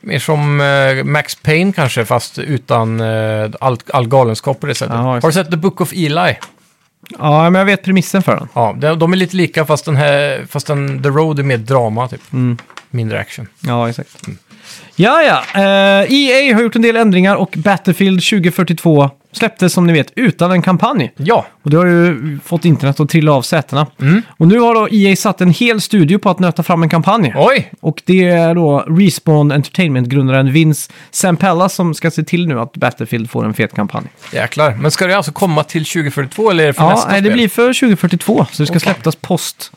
mer som eh, Max Payne kanske, fast utan eh, all, all galenskap på det sättet. Ja, just Har du sett The Book of Eli? Ja, men jag vet premissen för den. Ja, de, de är lite lika, fast, den här, fast den, The Road är mer drama typ. Mm. Mindre action. Ja, exakt. Mm. Ja, ja. Eh, EA har gjort en del ändringar och Battlefield 2042 släpptes som ni vet utan en kampanj. Ja, Och det har ju fått internet att trilla av sätena. Mm. Och nu har då EA satt en hel studio på att nöta fram en kampanj. oj! Och det är då Respawn Entertainment-grundaren Vince Sampella som ska se till nu att Battlefield får en fet kampanj. Jäklar. Men ska det alltså komma till 2042 eller är det för Ja, nästa nej, det spel? blir för 2042, så det Åh, ska fan. släppas post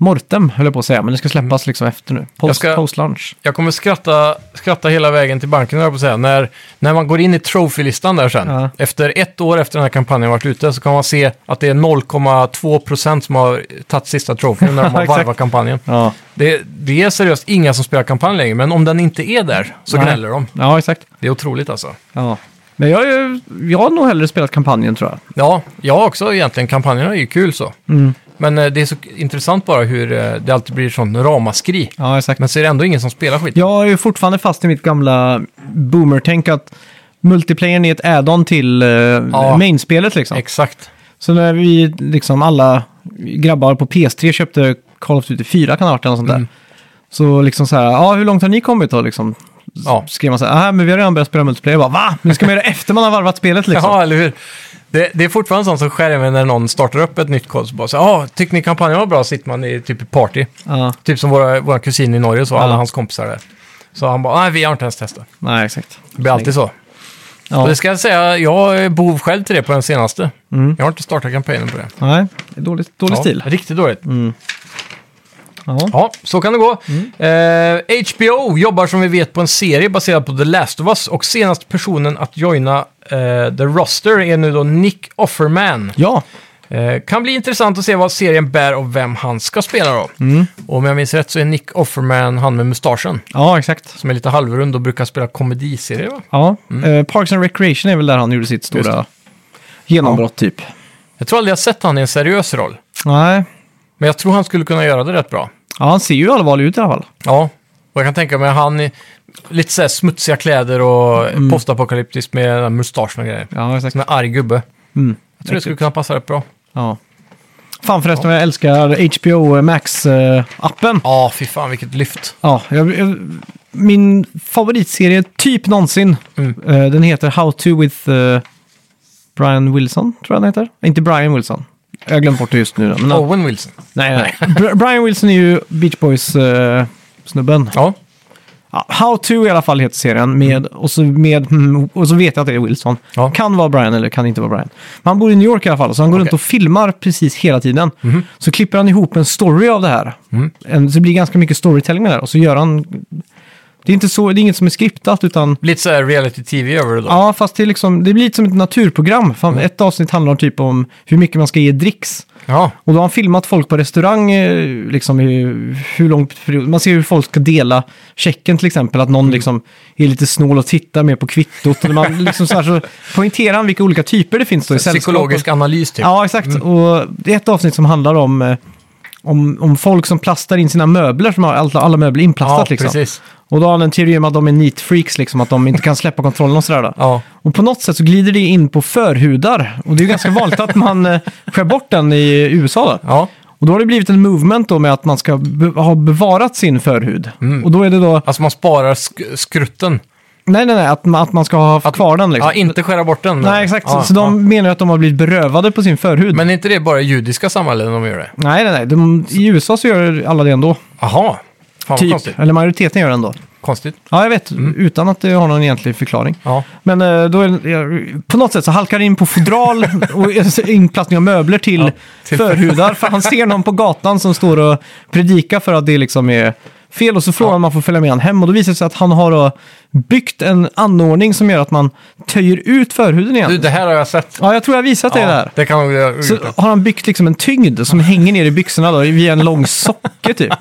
mortem, höll jag på att säga, men det ska släppas liksom efter nu. Post, Mm. Jag ska- Post-launch. Jag kommer skratta, skratta hela vägen till banken, höll jag på att säga. När, när man går in i Trophy-listan där sen, Ja. efter ett år efter den här kampanjen varit ute, så kan man se att det är 0,2 procent som har tagit sista trofén när de (laughs) har Exakt. varvat kampanjen. Ja. Det, det är seriöst inga som spelar kampanj längre, men om den inte är där så Nej. gnäller de. ja, exakt. Det är otroligt alltså. Ja. Men jag, är ju- jag har nog hellre spelat kampanjen tror jag. Ja, jag också egentligen. Kampanjerna är ju kul så. Mm. Men eh, det är så intressant bara hur eh, det alltid blir sånt ramaskri. Ja, exakt. Men så är det ändå ingen som spelar skit. Jag är ju fortfarande fast i mitt gamla boomer-tänk att multiplayern är ett add-on till eh, main-spelet liksom. Exakt. Så när vi liksom alla grabbar på PS3 köpte Call of Duty 4 kan det ha varit eller något sånt där. Mm. Så liksom så här, ja hur långt har ni kommit då liksom? Ja. Skrev man så här, "Ah, men vi har redan börjat spela multiplayer. Jag bara, va? Men ska man göra det efter man har varvat spelet liksom? Ja, eller hur? Det, det är fortfarande sånt som skär i mig när någon startar upp ett nytt kod. Så bara så, ah, tycker ni kampanjen var bra? Sitter man i typ i party. Ja, Typ som våra, våra kusin i Norge så, Ja. alla hans kompisar där. Så han bara, nej vi har inte ens testat. nej exakt. Det blir alltid så. Ja. Och det ska jag säga, jag är bov själv till det på den senaste. Jag har inte startat kampanjen på det. Nej, det är dåligt, dålig ja, Mm. stil. Mm. Riktigt dåligt. Ja. Ja, så kan det gå. Mm. Eh, HBO jobbar som vi vet på en serie baserad på The Last of Us och senaste personen att joina eh, The Roster är nu då Nick Offerman. ja, Eh, kan bli intressant att se vad serien bär och vem han ska spela då. Och om jag minns rätt så är Nick Offerman han med mustaschen, ja exakt. som är lite halvrund och brukar spela komediserier va? Ja, eh, Parks and Recreation är väl där han gjorde sitt Mm. Just stora genombrott typ. Jag tror aldrig jag sett han i en seriös roll, Nej, men jag tror han skulle kunna göra det rätt bra. ja, han ser ju allvarlig ut i alla fall. Ja, och jag kan tänka mig han i lite så här smutsiga kläder och postapokalyptiskt med den här mustaschen och grejer. Ja, exakt. Som en arg gubbe. Mm. Jag tror det skulle kunna passa rätt bra. Ja. Fan förresten vad jag älskar HBO Max-appen. Ja, fy fan vilket lyft. eh, Ja, jag, jag, min favoritserie typ någonsin. Mm. Eh, den heter How to with eh, Brian Wilson, tror jag den heter. Inte Brian Wilson. Jag har glömt bort det just nu. Men, Owen Wilson. eh, Nej, nej. Br- Brian Wilson är ju Beach Boys-snubben. Ja, Ja, How to i alla fall heter serien. Med, och, så med, mm, och så vet jag att det är Wilson. Ja. Kan vara Brian eller kan inte vara Brian. Men han bor i New York i alla fall, så han går runt och filmar precis hela tiden. Så klipper han ihop en story av det här. En, så det blir ganska mycket storytelling med det här. Och så gör han... Det är, inte så, det är inget som är skriptat, utan... Lite så här reality-tv över det då. Ja, fast det, är liksom, det blir lite som ett naturprogram. Fan, Ett avsnitt handlar typ om hur mycket man ska ge dricks. Ja. Och då har han filmat folk på restaurang, eh, liksom i hur lång period, man ser hur folk ska dela checken till exempel, att någon Mm. liksom är lite snål och tittar mer på kvittot. Eller man liksom så, här, så poängterar han vilka olika typer det finns då i sällskap. Psykologisk analys typ. Ja, exakt. Och det är ett avsnitt som handlar om, eh, om, om folk som plastar in sina möbler, som har alla, alla möbler inplastat. Ja, liksom. precis. Och då har han en teori om att de är neat freaks, liksom, att de inte kan släppa kontrollen och sådär. Då. Ja. Och på något sätt så glider det in på förhudar. Och det är ju ganska vanligt att man eh, skär bort den i USA. Då. Ja. Och då har det blivit en movement då med att man ska be- ha bevarat sin förhud. Och då är det då, Alltså man sparar sk- skrutten. nej nej nej, att man, att man ska ha haft kvar den liksom. Ja, inte skära bort den. nej exakt, Ja, så, så de ja. menar ju att de har blivit berövade på sin förhud. Men är inte det bara i judiska samhällen de gör det? nej nej nej, de, i USA så gör alla det ändå. Jaha. Fan vad Typ, konstigt. Mm. eller majoriteten gör det ändå. konstigt. Ja jag vet, utan att det har någon egentlig förklaring. Ja. Men eh, då är det, jag- på något sätt så halkar det in (laughs) på fodral och inplastning av möbler till, till- förhudar. För han ser någon på gatan som står och predikar för att det liksom är fel. Och så frågar man om man får följa med han hem. Och då visar det sig att han har då byggt en anordning som gör att man töjer ut förhuden igen. Du, det här har jag sett. Ja, jag tror jag har visat dig det här. det kan nog jag Så har han byggt liksom en tyngd som hänger ner i byxorna då, via en lång socke (laughs) typ.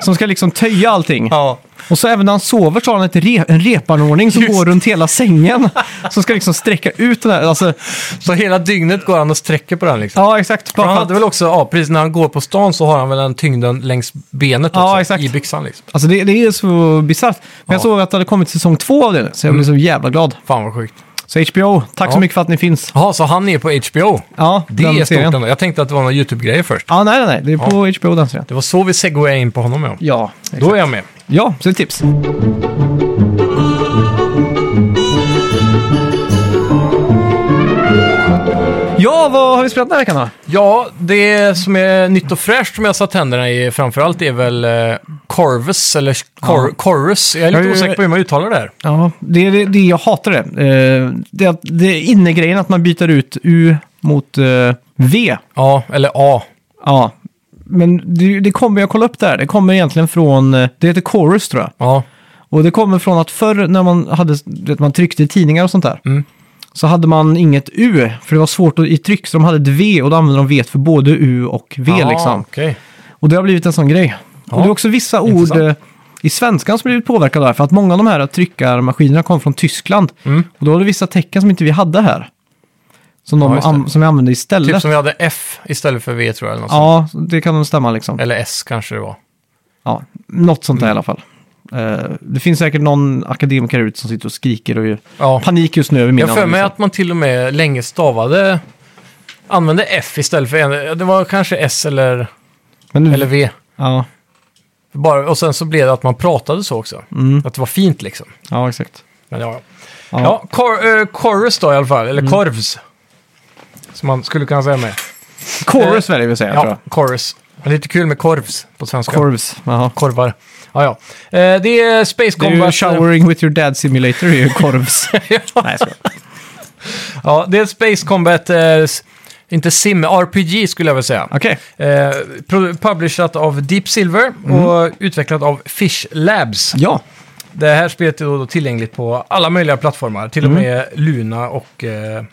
Som ska liksom töja allting. Ja. Och så även när han sover så har han ett re en repanordning som Just går runt (laughs) hela sängen. som ska liksom sträcka ut den här. Alltså, så hela dygnet går han och sträcker på den liksom. ja, exakt. Bara han för att, hade väl också, ja precis när han går på stan så har han väl den tyngden längs benet också. Ja, exakt. I byxan liksom. alltså det, det är så bisarrt. Men jag Ja. såg att det hade kommit säsong två av det nu, så jag blev så jävla glad. Fan vad sjukt. Så HBO, tack så Ja. mycket för att ni finns. Jaha, så han är på HBO? Ja, Det den är serien. stort ändå. Jag tänkte att det var några YouTube-grejer först. Ja, nej, nej, nej. Det är på HBO den serien. Det var så vi segwayade in på honom ja. Ja, exakt. Då är jag med. ja, så det är tips. Ja, vad har vi spelat den här veckan då? Ja, det som är nytt och fräscht som jag satt tänderna i framförallt är väl eh, Corvus, eller Cor- Corus. Jag är Jag är lite ju- osäker på hur man uttalar det här. Ja, det är det, det jag hatar det. Eh, det, är att- det är innegrejen att man byter ut U mot eh, V. Ja, eller A. Ja, men det, det kommer, jag kollade upp det här, det kommer egentligen från, eh, det heter Chorus tror jag. Ja, Och det kommer från att förr när man, hade, du vet, man tryckte i tidningar och sånt där, Mm. så hade man inget U, för det var svårt att, i tryck, så de hade ett V och då använde de V för både U och V ah, liksom. okej. Och det har blivit en sån grej. och det är också vissa ord intressant. eh, i svenskan som blivit påverkade där, för att många av de här tryckarmaskinerna kom från Tyskland. Mm. Och då var det vissa tecken som inte vi hade här. Som, de Ja, just det. an- som vi använde istället. Typ som vi hade F istället för V tror jag. Eller, något sånt. ja, det kan nog stämma liksom. eller S kanske det var. Ja, något sånt där Mm. i alla fall. Eh, det finns säkert någon akademiker ut som sitter och skriker och gör Ja. panik just nu över liksom. min Jag för mig analys. att man till och med länge stavade, använde F istället för en, det var kanske S eller, Men, eller V. ja, Bara, och sen så blev det att man pratade så också. Mm. Att det var fint liksom. ja, exakt. Men ja, ja. Ja. Mm. ja kor, eh, Chorus då i alla fall, eller Korvs. Som man skulle kunna säga med. Chorus väljer vi att säga, tror Eh, Ja, jag. Chorus. Det är lite kul med korvs på svenska. Corvs. Jaha. Korvar. Ja, ja. Eh, det är Space Det är ju Combat. eh, showering with your dad simulator, (laughs) är ju korvs. Nej, jag skojar. ja, det är Space Combat, eh, s- inte sim, RPG skulle jag vilja säga. Okej. Mm. Eh, pro- publishat av Deep Silver och utvecklat av Fish Labs. Ja. Det här spelet är då tillgängligt på alla möjliga plattformar, till och Mm. med Luna och eh,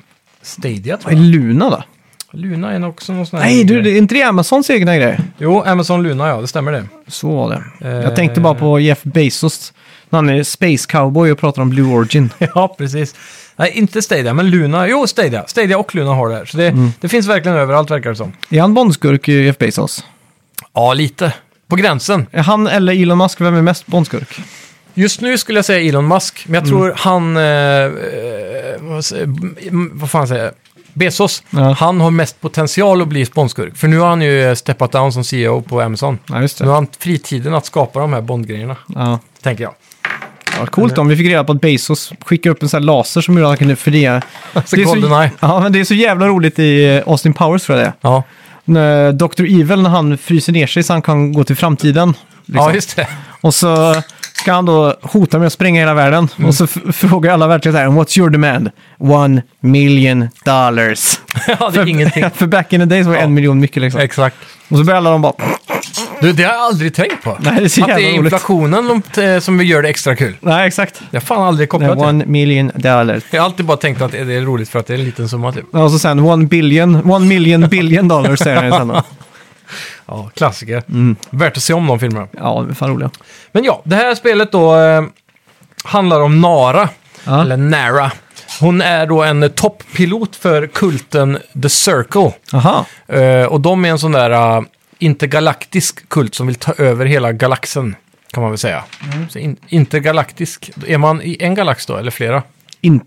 Stadia tror Vad är jag. Luna då? Luna är nog också någon sån här... Nej, du, det är inte det Amazons egna grej? Jo, Amazon Luna ja, det stämmer det. (laughs) Så var det. Eh. Jag tänkte bara på Jeff Bezos. när Han är space cowboy och pratar om Blue Origin. ja, precis. Nej, inte Stadia, men Luna. Jo, Stadia. Stadia och Luna har det här. Så det, det finns verkligen överallt verkar det som. Är han bondskurk, eh, Jeff Bezos? Ja, lite. På gränsen. Är han eller Elon Musk, vem är mest bondskurk? Just nu skulle jag säga Elon Musk, men jag tror han... Eh, eh, vad, säger- m- vad fan säger jag? Bezos. Ja. Han har mest potential att bli sponskurk. För nu har han ju steppat down som CEO på Amazon. Ja, just Nu har det. han fritiden att skapa de här Bond-grejerna, Ja. tänker jag. Ja, coolt om vi fick reda på att Bezos skickade upp en sån här laser som gjorde att han kunde (laughs) fria. Alltså, Det är Goldeneye. ja, men det är så jävla roligt i eh, Austin Powers tror jag det är. Ja, När Dr. Evil, när han fryser ner sig så han kan gå till framtiden. liksom. ja just det. Och så ska han då hota med att spränga hela världen. Mm. Och så f- frågar alla verkligen så här, what's your demand? One million dollars. (laughs) ja, det är (laughs) ingenting. (laughs) För back in the days var det Ja. en miljon mycket liksom. Exakt. Och så börjar alla de bara, Du, det har jag aldrig tänkt på. nej det är så att jävla det är roligt. inflationen de- eh, som vi gör det extra kul. Nej, exakt. Jag har fan aldrig Nej, kopplat det. one million dollars. Jag har alltid bara tänkt att det är roligt för att det är en liten summa typ. Och så sen one billion, one million billion dollars säger han (laughs) ju sen då. Ja, klassiker. Mm. Värt att se om de filmerna. Ja, de är fan roliga. Men ja, det här spelet då eh, handlar om Nara, Ja. eller Nara. Hon är då en topppilot för kulten The Circle. Aha. Eh, och de är en sån där eh, intergalaktisk kult som vill ta över hela galaxen, kan man väl säga. Mm. Så in, intergalaktisk, är man i en galax då, eller flera?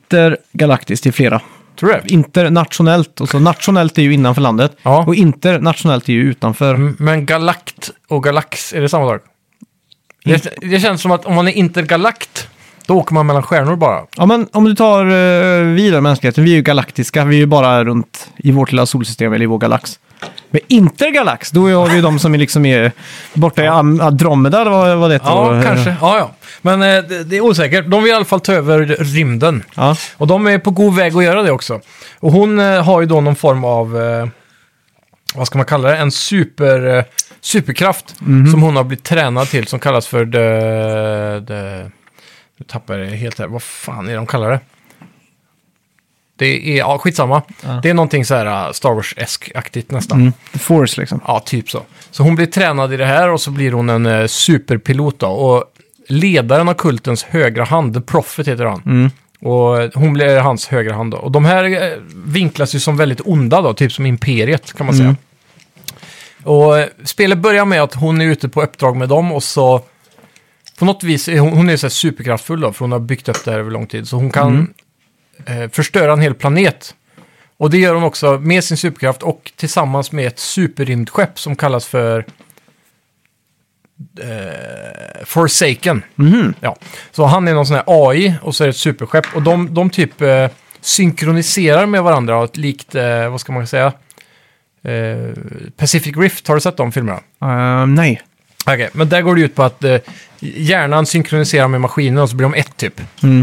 Intergalaktiskt i flera. Tror du det? Internationellt, och så nationellt är ju innanför landet. Ja. Och internationellt är ju utanför. Mm, Men galakt och galax, är det samma sak? Det, det känns som att om man är intergalakt, då åker man mellan stjärnor bara. Ja, men om du tar eh, vi då, mänskligheten, vi är ju galaktiska, vi är ju bara runt i vårt lilla solsystem eller i vår galax. Men intergalax, då har vi ju de som är liksom är borta i Am- Andromeda, eller vad, vad det heter. Ja, då. kanske. Ja, ja. Men eh, det, det är osäkert. De vill i alla fall ta över rymden. Ja. Och de är på god väg att göra det också. Och hon eh, har ju då någon form av, eh, vad ska man kalla det, en super, eh, superkraft som hon har blivit tränad till som kallas för the, the, nu tappar jag det helt här, vad fan är det de kallar det? Det är, ja skitsamma. Det är någonting så här eh, Star Wars-esk-aktigt nästan. Mm, the force liksom. Ja, typ så. Så hon blir tränad i det här och så blir hon en eh, superpilot då. Och ledaren av kultens högra hand, The Prophet heter han. Och eh, hon blir hans högra hand då. Och de här eh, vinklas ju som väldigt onda då, typ som Imperiet kan man säga. Och eh, spelet börjar med att hon är ute på uppdrag med dem och så på något vis är hon, hon är så här superkraftfull då, för hon har byggt upp det här över lång tid. Så hon kan eh, förstöra en hel planet. Och det gör hon också med sin superkraft och tillsammans med ett superrymdskepp som kallas för eh, Forsaken. Ja. Så han är någon sån här AI och så är det ett superskepp och de, de typ eh, synkroniserar med varandra och ett likt, eh, vad ska man säga, eh, Pacific Rift, har du sett de filmerna? Ehm, nej. Okej, men där går det ut på att eh, hjärnan synkroniserar med maskinen och så blir de ett typ.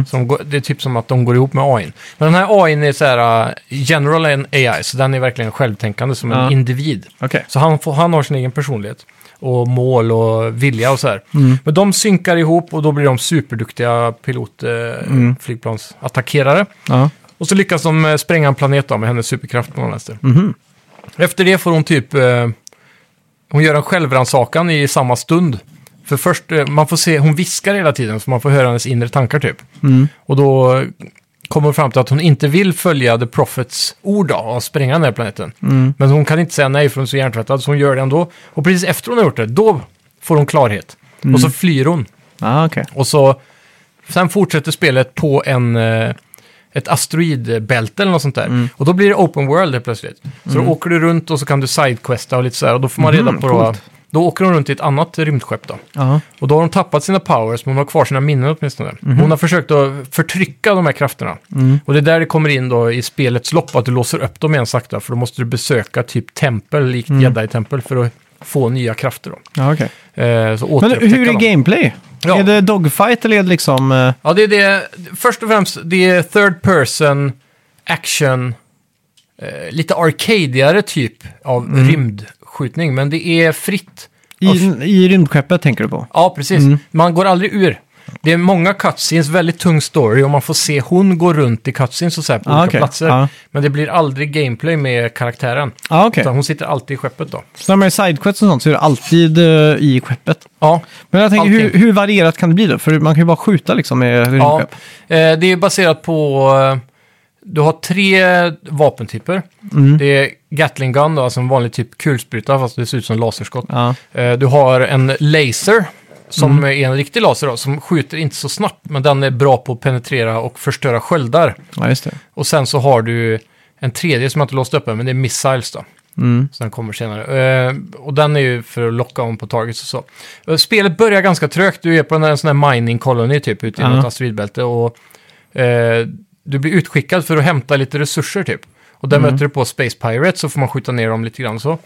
Så de går, det är typ som att de går ihop med AIn. Men den här AIn är så här, eh, general en AI, så den är verkligen självtänkande som Ja. en individ. Okej. Så han, får, han har sin egen personlighet och mål och vilja och så här. Men de synkar ihop och då blir de superduktiga eh, pilotflygplansattackerare. Ja. Och så lyckas de eh, spränga en planet då med hennes superkraft på någon vänster. Efter det får hon typ... Eh, hon gör en självrannsakan i samma stund. För först, eh, man får se, hon viskar hela tiden så man får höra hennes inre tankar typ. Och då eh, kommer hon fram till att hon inte vill följa The Prophets ord då, och spränga den här planeten. Men hon kan inte säga nej för hon är så hjärntvättad så hon gör det ändå. Och precis efter hon har gjort det, då får hon klarhet. Och så flyr hon. Ah, okej. Och så, sen fortsätter spelet på en, eh, ett asteroidbälte eller något sånt där. Mm. Och då blir det open world helt plötsligt. Så då åker du runt och så kan du sidequesta och lite så här. Och då får man reda Mhm, på... Då, coolt. då åker hon runt i ett annat rymdskepp då. Ja. Och då har hon tappat sina powers, men hon har kvar sina minnen åtminstone. Mhm. Hon har försökt att förtrycka de här krafterna. Mm. Och det är där det kommer in då i spelets lopp, att du låser upp dem igen sakta. För då måste du besöka typ tempel, likt Mm. jedi-tempel, för att få nya krafter då. Ja, okej. Eh, så Men återupptäcka hur är dem. gameplay? Ja. Är det dogfight eller är det liksom... eh, Ja, det är det. Först och främst, det är third person, action, eh, lite arcadigare typ av Mm. rymdskjutning. Men det är fritt. i, I rymdskeppet tänker du på? Ja, precis. Mm. Man går aldrig ur. Det är många cutscenes, väldigt tung story och man får se hon gå runt i cutscenes och så här på Ah, olika okej. platser. Ja. Men det blir aldrig gameplay med karaktären. Ja, okej. Utan hon sitter alltid i skeppet då. Så när man är sidequests och sånt så är det alltid eh, i skeppet. Ja, Men jag tänker, hur, Allting. hur varierat kan det bli då? För man kan ju bara skjuta liksom med Ja, rymdskepp. eh, det är baserat på... eh, Du har tre vapentyper. Det är Gatling Gun, då, alltså en vanlig typ kulspruta, fast det ser ut som laserskott. Ja. Eh, Du har en laser, som är en riktig laser, då, som skjuter inte så snabbt, men den är bra på att penetrera och förstöra sköldar. ja, just det. Och sen så har du en tredje som jag inte låst upp än, men det är Missiles då. Mm. Så den kommer senare. Eh, och den är ju för att locka om på targets och så. Eh, Spelet börjar ganska trögt. Du är på en, en sån här mining colony typ ute i Ja. något asteroidbälte. Och eh, du blir utskickad för att Mm. hämta lite resurser typ. Och där möter du på Space Pirates så får man skjuta ner dem lite grann och så.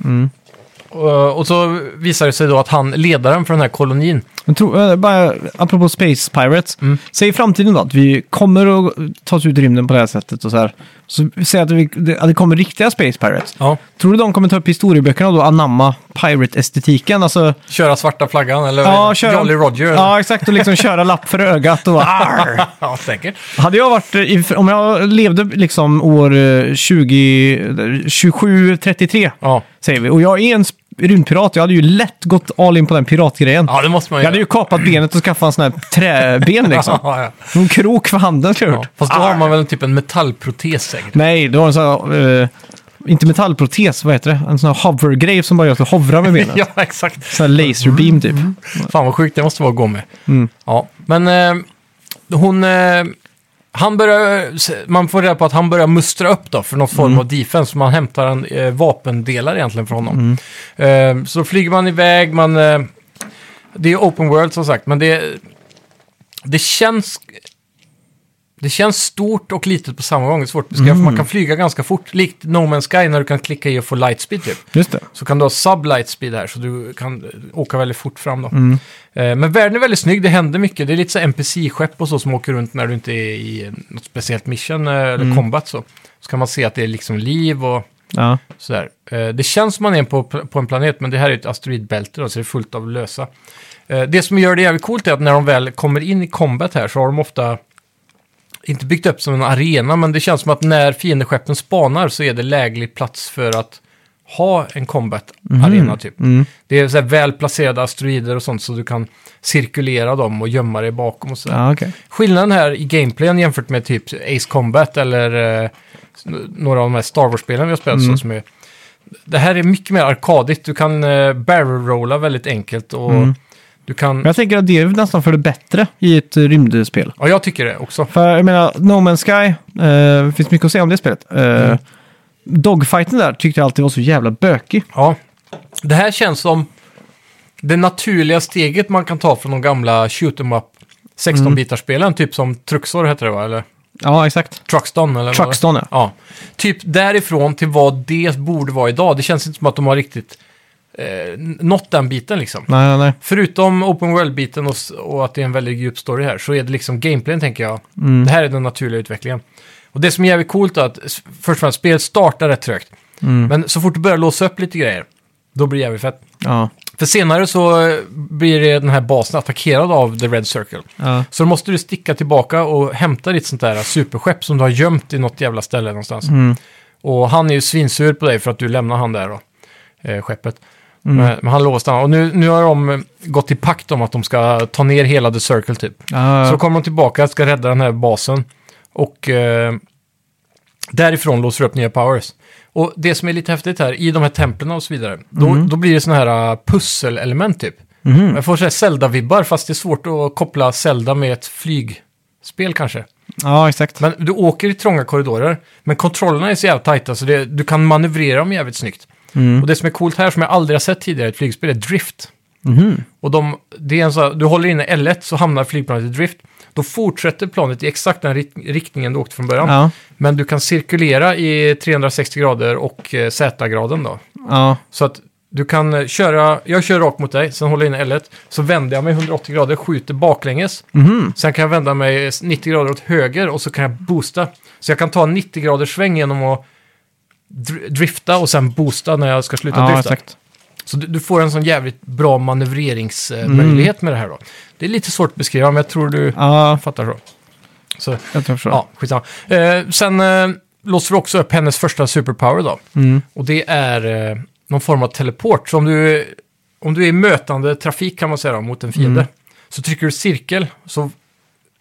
Och, och så visar det sig då att han, ledaren för den här kolonin, Men tro, eh, bara, apropå Space Pirates, säg i framtiden då att vi kommer att ta oss ut i rymden på det här sättet och så här. Så säg att, vi, att det kommer riktiga Space Pirates. ja. Tror du de kommer ta upp historieböckerna och då anamma Pirate-estetiken? Alltså, köra svarta flaggan eller ja, köra, Jolly Roger. Ja, exakt. Och liksom köra lapp för ögat och (laughs) arr. (laughs) ja, säkert. Hade jag varit, i- om jag levde liksom år 27-33, Ja. säger vi, och jag är en sp- rymdpirat, jag hade ju lätt gått all in på den piratgrejen. ja, det måste man Jag ju hade ju kapat benet och skaffat en sån här (laughs) träben liksom. Ja, ja. En krok för handen skulle jag Alltså, Ja, gjort. fast då Ah. har man väl typ en metallprotes säkert. Nej, du har en sån här, eh, inte metallprotes, vad heter det? En sån här hovergrej som bara gör att du hovrar med benen. (laughs) Ja, Mm. exakt. Sån här laserbeam typ. Fan vad sjukt det måste vara att gå med. Ja, men eh, hon... Eh, han börjar, man får reda på att han börjar mustra upp då för någon form av defense. Man hämtar en eh, vapendelar egentligen från honom. Eh, så flyger man iväg, man... Eh, det är open world som sagt, men det... Det känns... Det känns stort och litet på samma gång. Det är svårt att beskriva, för man kan flyga ganska fort. Likt No Man's Sky när du kan klicka i och få lightspeed typ Just det. så kan du ha sublight speed här, så du kan eh, åka väldigt fort fram då. Eh, Men världen är väldigt snygg, det händer mycket. Det är lite så här NPC-skepp och så som åker runt när du inte är i eh, något speciellt mission eh, eller combat så. Så kan man se att det är liksom liv och Ja. sådär. Eh, Det känns som man är på, på en planet, men det här är ett asteroidbälte då, så det är fullt av lösa. Eh, Det som gör det jävligt coolt är att när de väl kommer in i combat här så har de ofta inte byggt upp som en arena, men det känns som att när fiendeskeppen spanar så är det läglig plats för att ha en combat-arena Mm. Mhm. typ. Det är så här väl placerade asteroider och sånt så du kan cirkulera dem och gömma dig bakom och sådär. Ja, okej. Skillnaden här i gameplayen jämfört med typ Ace Combat eller eh, n- några av de här Star Wars-spelen vi har spelat så som är... Det här är mycket mer arkadigt. Du kan eh, barrel-rolla väldigt enkelt och du kan... Men jag tänker att det är nästan för det bättre i ett eh, rymdspel. Ja, jag tycker det också. För jag menar, No Man's Sky, eh, det finns mycket att säga om det spelet. Eh, Mm. Dogfighten där tyckte jag alltid var så jävla bökig. Ja. Det här känns som det naturliga steget man kan ta från de gamla shoot 'em up 16-bitarspelen, typ som Truxor hette det va? Eller Ja, exakt. Truxton? Eller vad det- Truckston, ja. Ja, typ därifrån till vad det borde vara idag. Det känns inte som att de har riktigt eh, nått den biten liksom. Nej, nej, nej. Förutom open world-biten och, s- och att det är en väldigt djup story här så är det liksom gameplayen tänker jag. Det här är den naturliga utvecklingen. Och det som är jävligt coolt är att s- först och främst spelet startar rätt trögt. Men så fort du börjar låsa upp lite grejer, då blir det jävligt fett. Ja. För senare så eh, blir det den här basen attackerad av The Red Circle. Ja. Så då måste du sticka tillbaka och hämta ditt sånt där superskepp som du har gömt i något jävla ställe någonstans. Och han är ju svinsur på dig för att du lämnar han där då, eh, skeppet. Men, men han låste han. Och nu, nu har de eh, gått i pakt om att de ska ta ner hela The Circle typ. Så Ja, då kommer de tillbaka och ska rädda den här basen. Och eh, därifrån låser upp nya powers. Och det som är lite häftigt här, i de här templen och så vidare, då, då blir det såna här eh, pusselelement typ. Jag får säga Zelda-vibbar, fast det är svårt att koppla Zelda med ett flygspel kanske. ja, exakt. Men du åker i trånga korridorer, men kontrollerna är så jävla tajta så det, du kan manövrera dem jävligt snyggt. Mm. Och det som är coolt här, som jag aldrig har sett tidigare i ett flygspel, är drift. Och de, det är en så här, du håller inne L1 så hamnar flygplanet i drift. Då fortsätter planet i exakt den rit- riktningen du åkte från början. Ja, Men du kan cirkulera i 360 grader och eh, Z-graden då. ja. Så att du kan eh, köra, jag kör rakt mot dig, sen håller jag in L1, så vänder jag mig 180 grader, skjuter baklänges. Sen kan jag vända mig 90 grader åt höger och så kan jag boosta. Så jag kan ta en 90 graders sväng genom att dr- drifta och sen boosta när jag ska sluta ja drifta. exakt. Så du, du får en sån jävligt bra manövreringsmöjlighet med det här då. Det är lite svårt att beskriva, men jag tror du Ja, fattar så. Så jag tror jag förstår. Ja, skitsamma. Eh, sen eh, låser vi också upp hennes första superpower då. Mm. Och det är eh, någon form av teleport. Så om du, om du är i mötande trafik kan man säga då, mot en fiende. Så trycker du cirkel så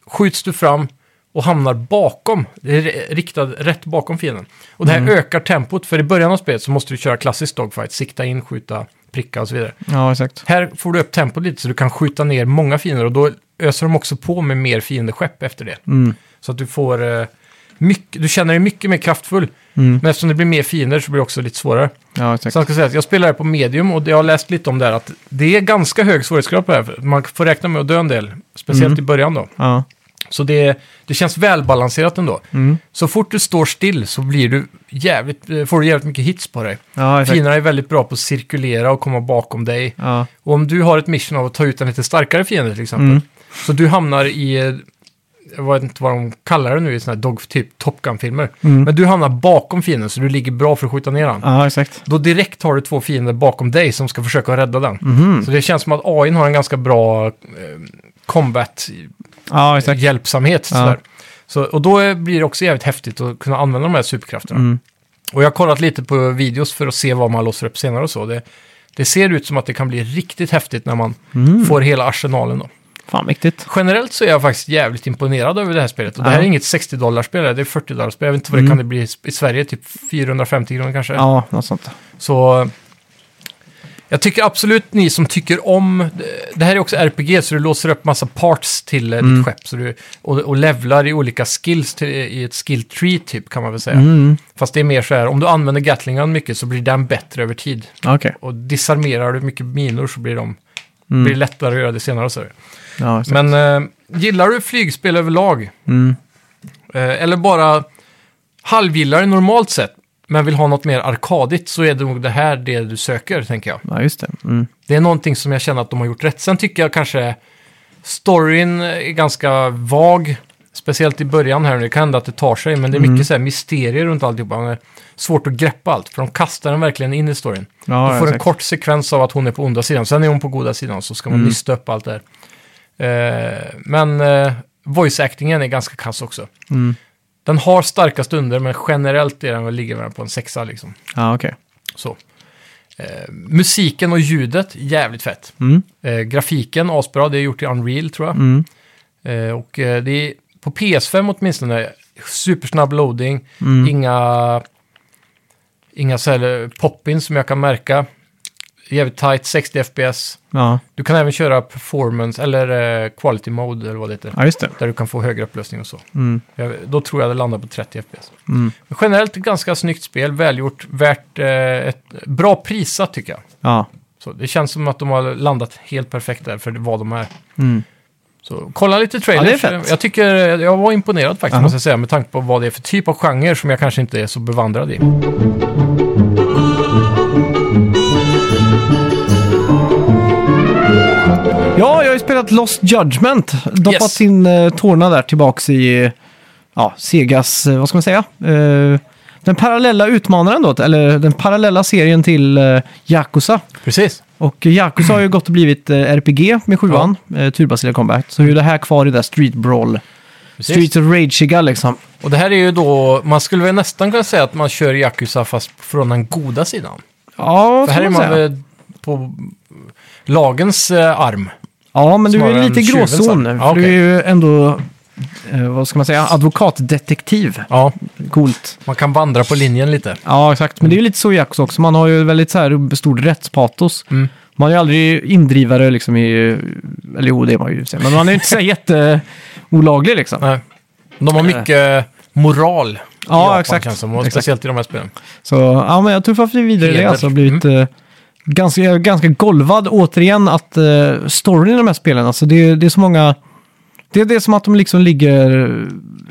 skjuts du fram och hamnar bakom. Det är riktad rätt bakom fienden. Och det här ökar tempot. För i början av spelet så måste du köra klassisk dogfight. Sikta in, skjuta, pricka och så vidare. Ja, exakt. Här får du upp tempot lite så du kan skjuta ner många fiender och då öser de också på med mer fiendeskepp efter det. Mm. Så att du får eh, mycket, du känner dig mycket mer kraftfull. Men eftersom det blir mer fiender så blir det också lite svårare. Mm. Ja, exakt. Så jag ska säga att jag spelar här på medium och det- jag har läst lite om det här att det är ganska hög svårighetsgrad på det här. Man får räkna med att dö en del, speciellt i början då. Ja, Mm. Så det, det känns välbalanserat ändå. Så fort du står still så blir du jävligt, eh, får du jävligt mycket hits på dig. Ja, exakt. Fienderna är väldigt bra på att cirkulera och komma bakom dig. Ja. Och om du har ett mission av att ta ut en lite starkare fiende till exempel. Mm. Så du hamnar i, eh, jag vet inte vad de kallar det nu i sådana här dog, typ Top Gun-filmer. Mm. Men du hamnar bakom fienden så du ligger bra för att skjuta ner den. ja, exakt. Då direkt har du två fiender bakom dig som ska försöka rädda den. Mhm. Så det känns som att AI har en ganska bra eh, combat Ja, exakt. hjälpsamhet. Ja. Sådär. Så, och då eh, blir det också jävligt häftigt att kunna använda de här superkrafterna. Mm. Och jag har kollat lite på videos för att se vad man låser upp senare och så. Det, det ser ut som att det kan bli riktigt häftigt när man Mm. får hela arsenalen då. Fan, mäktigt. Generellt så är jag faktiskt jävligt imponerad över det här spelet. Och det Ja. här är inget 60-dollarspel, det är 40-dollarspel. Jag vet inte vad det Mm. kan det bli i Sverige, typ 450 kronor kanske. Ja, något sånt. Så jag tycker absolut ni som tycker om, det här är också RPG så du låser upp massa parts till eh, Mm. ditt skepp så du, och, och levlar i olika skills till, i ett skill tree typ kan man väl säga. Mm. Fast det är mer så här, om du använder Gatlingan mycket så blir den bättre över tid. Ja, Okej. Och disarmerar du mycket minor så blir de Mm. blir det lättare att göra det senare. och Så. Ja, exakt. Men eh, gillar du flygspel överlag, Mm. eh, eller bara halvgillar det normalt sett, men vill ha något mer arkadigt så är det nog det här det du söker, tänker jag. Ja, just det. Mm. Det är någonting som jag känner att de har gjort rätt. Sen tycker jag kanske storyn är ganska vag. Speciellt i början här. Det kan hända att det tar sig, men det är Mm. mycket så här mysterier runt alltihopa. Det är svårt att greppa allt, för de kastar den verkligen in i storyn. Ja, du ja, får en exakt. kort sekvens av att hon är på onda sidan, sen är hon på goda sidan, så ska man Mm. nysta upp allt där. Eh, men eh, voice-actingen är ganska kass också. Mm. Den har starka stunder, men generellt är den väl ligger väl på en sexa liksom. Ja, okej. Så. Eh, musiken och ljudet, jävligt fett. Mm. Eh, grafiken, asbra. Det är gjort i Unreal tror jag. Mm. Eh, och eh, det är på PS5 åtminstone supersnabb loading. Mm. Inga, inga så här poppins som jag kan märka. Jävligt tight, 60 FPS. Ja. Du kan även köra performance eller eh, quality mode eller vad det heter. ja, just det. Där du kan få högre upplösning och så. Mm. Jag, då tror jag det landar på 30 FPS. Mm. Men generellt ett ganska snyggt spel, välgjort, värt eh, ett bra prissatt tycker jag. Ja. Så det känns som att de har landat helt perfekt där för vad de är. Mm. Så kolla lite trailers. Ja, det är fett. Jag, tycker, jag var imponerad faktiskt, Aha. måste jag säga, med tanke på vad det är för typ av genre som jag kanske inte är så bevandrad i. Ja, jag har ju spelat Lost Judgment. Doppat Yes. sin eh, tårna där tillbaks i eh, ja, Segas, eh, vad ska man säga? Eh, den parallella utmanaren då, eller den parallella serien till eh, Yakuza. Precis. Och Yakuza har ju gått och blivit eh, RPG med sjuan, eh, turbaserad combat. Så är ju det här kvar i det där Street Brawl, Streets of Rageiga liksom. Och det här är ju då, man skulle väl nästan kunna säga att man kör Yakuza fast från den goda sidan. Ja, För kan här är man man säga. väl på lagens eh, arm. Ja, men du snarare är än lite i tjuvens gråzon. arm. För Ja, Du okej. är ju ändå, eh, vad ska man säga, advokatdetektiv. Ja, Coolt. man kan vandra på linjen lite. Ja, exakt. Men det är ju lite så i Yakuza också. Man har ju väldigt så här stor rättspatos. Mm. Man är ju aldrig indrivare liksom i... Eller jo, det är man ju i och för sig. Men man är ju inte så här (laughs) jätteolaglig liksom. Nej. De har mycket moral i Ja, Japan, exakt. känns det som, och Exakt. speciellt i de här spelen. Så ja, men jag tuffar för vidare i det. Heder. Alltså, Jag har blivit Mm. eh, ganska, jag är ganska golvad återigen att eh, storyn i de här spelen, alltså det, det är så många... Det, det är som att de liksom ligger...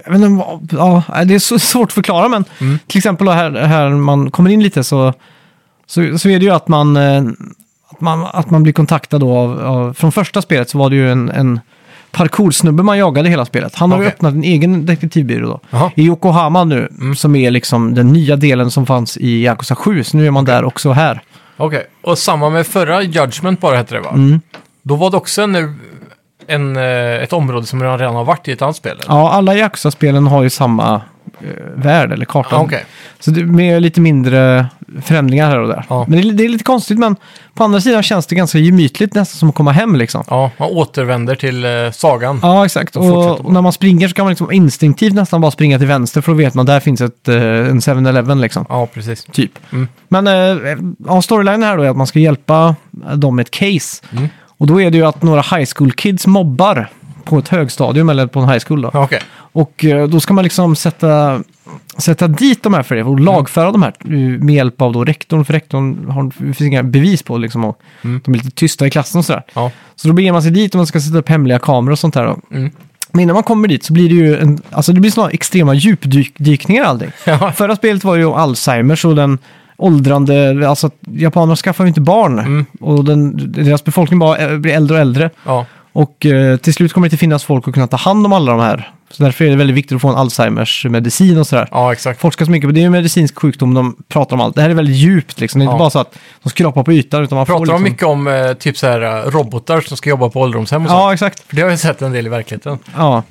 Jag vet inte, vad- ja, nej, det är så (laughs) svårt att förklara, men Mm. till exempel då här, här man kommer in lite så, så, så är det ju att man, eh, att man, att man blir kontaktad då av, av... Från första spelet så var det ju en, en parkoursnubbe man jagade hela spelet. Han har ju Okej. öppnat en egen detektivbyrå då Jaha. Mm. i Yokohama nu, som är liksom den nya delen som fanns i Yakuza 7, så nu är man där också här. Okej, och samma med förra Judgment bara hette det va? Mm. Då var det också en, eh, en, eh, ett område som man redan har varit i ett annat spel? eller? Ja, alla Yakuza-spelen har ju samma eh, värld eller karta. Ja, okej. Så det med lite mindre förändringar här och där. Ja. Men det, är- det är lite konstigt, men på andra sidan känns det ganska gemytligt, nästan som att komma hem liksom. Ja, man återvänder till eh, sagan. Ja, exakt. Och fortsätter Och, på. när man springer så kan man liksom instinktivt nästan bara springa till vänster, för då vet man där finns ett, eh, en 7-Eleven liksom. Ja, precis. Typ. Mm. Men eh, ja, storylinen här då är att man ska hjälpa dem med ett case. Mm. Och då är det ju att några high school kids mobbar på ett högstadium eller på en high school. Då. Ja, Okej, Och eh, då ska man liksom sätta, sätta dit de här för det och lagföra de här eh, med hjälp av då rektorn. För rektorn har, det finns inga bevis på liksom, och Mm. de är lite tysta i klassen och sådär. ja. Så då beger man sig dit och man ska sätta upp hemliga kameror och sånt där. Då. Mm. Men innan man kommer dit så blir det ju en, alltså det blir sådana extrema djupdykningar och allting. (laughs) Ja. Förra spelet var ju om Alzheimers och den åldrande, alltså att japanerna skaffar ju inte barn. Mm. Och den, deras befolkning bara eh, blir äldre och äldre. Ja. Och eh, till slut kommer det inte finnas folk att kunna ta hand om alla de här. Så därför är det väldigt viktigt att få en Alzheimers-medicin och sådär. ja, exakt. Forskar så mycket på det, är ju en medicinsk sjukdom, de pratar om allt. Det här är väldigt djupt liksom, det är inte Ja. bara så att de skrapar på ytan utan man Pratar får de liksom... mycket om eh, typ så här eh, robotar som ska jobba på ålderdomshem och sånt? Ja, exakt. För det har jag sett en del i verkligheten. Ja.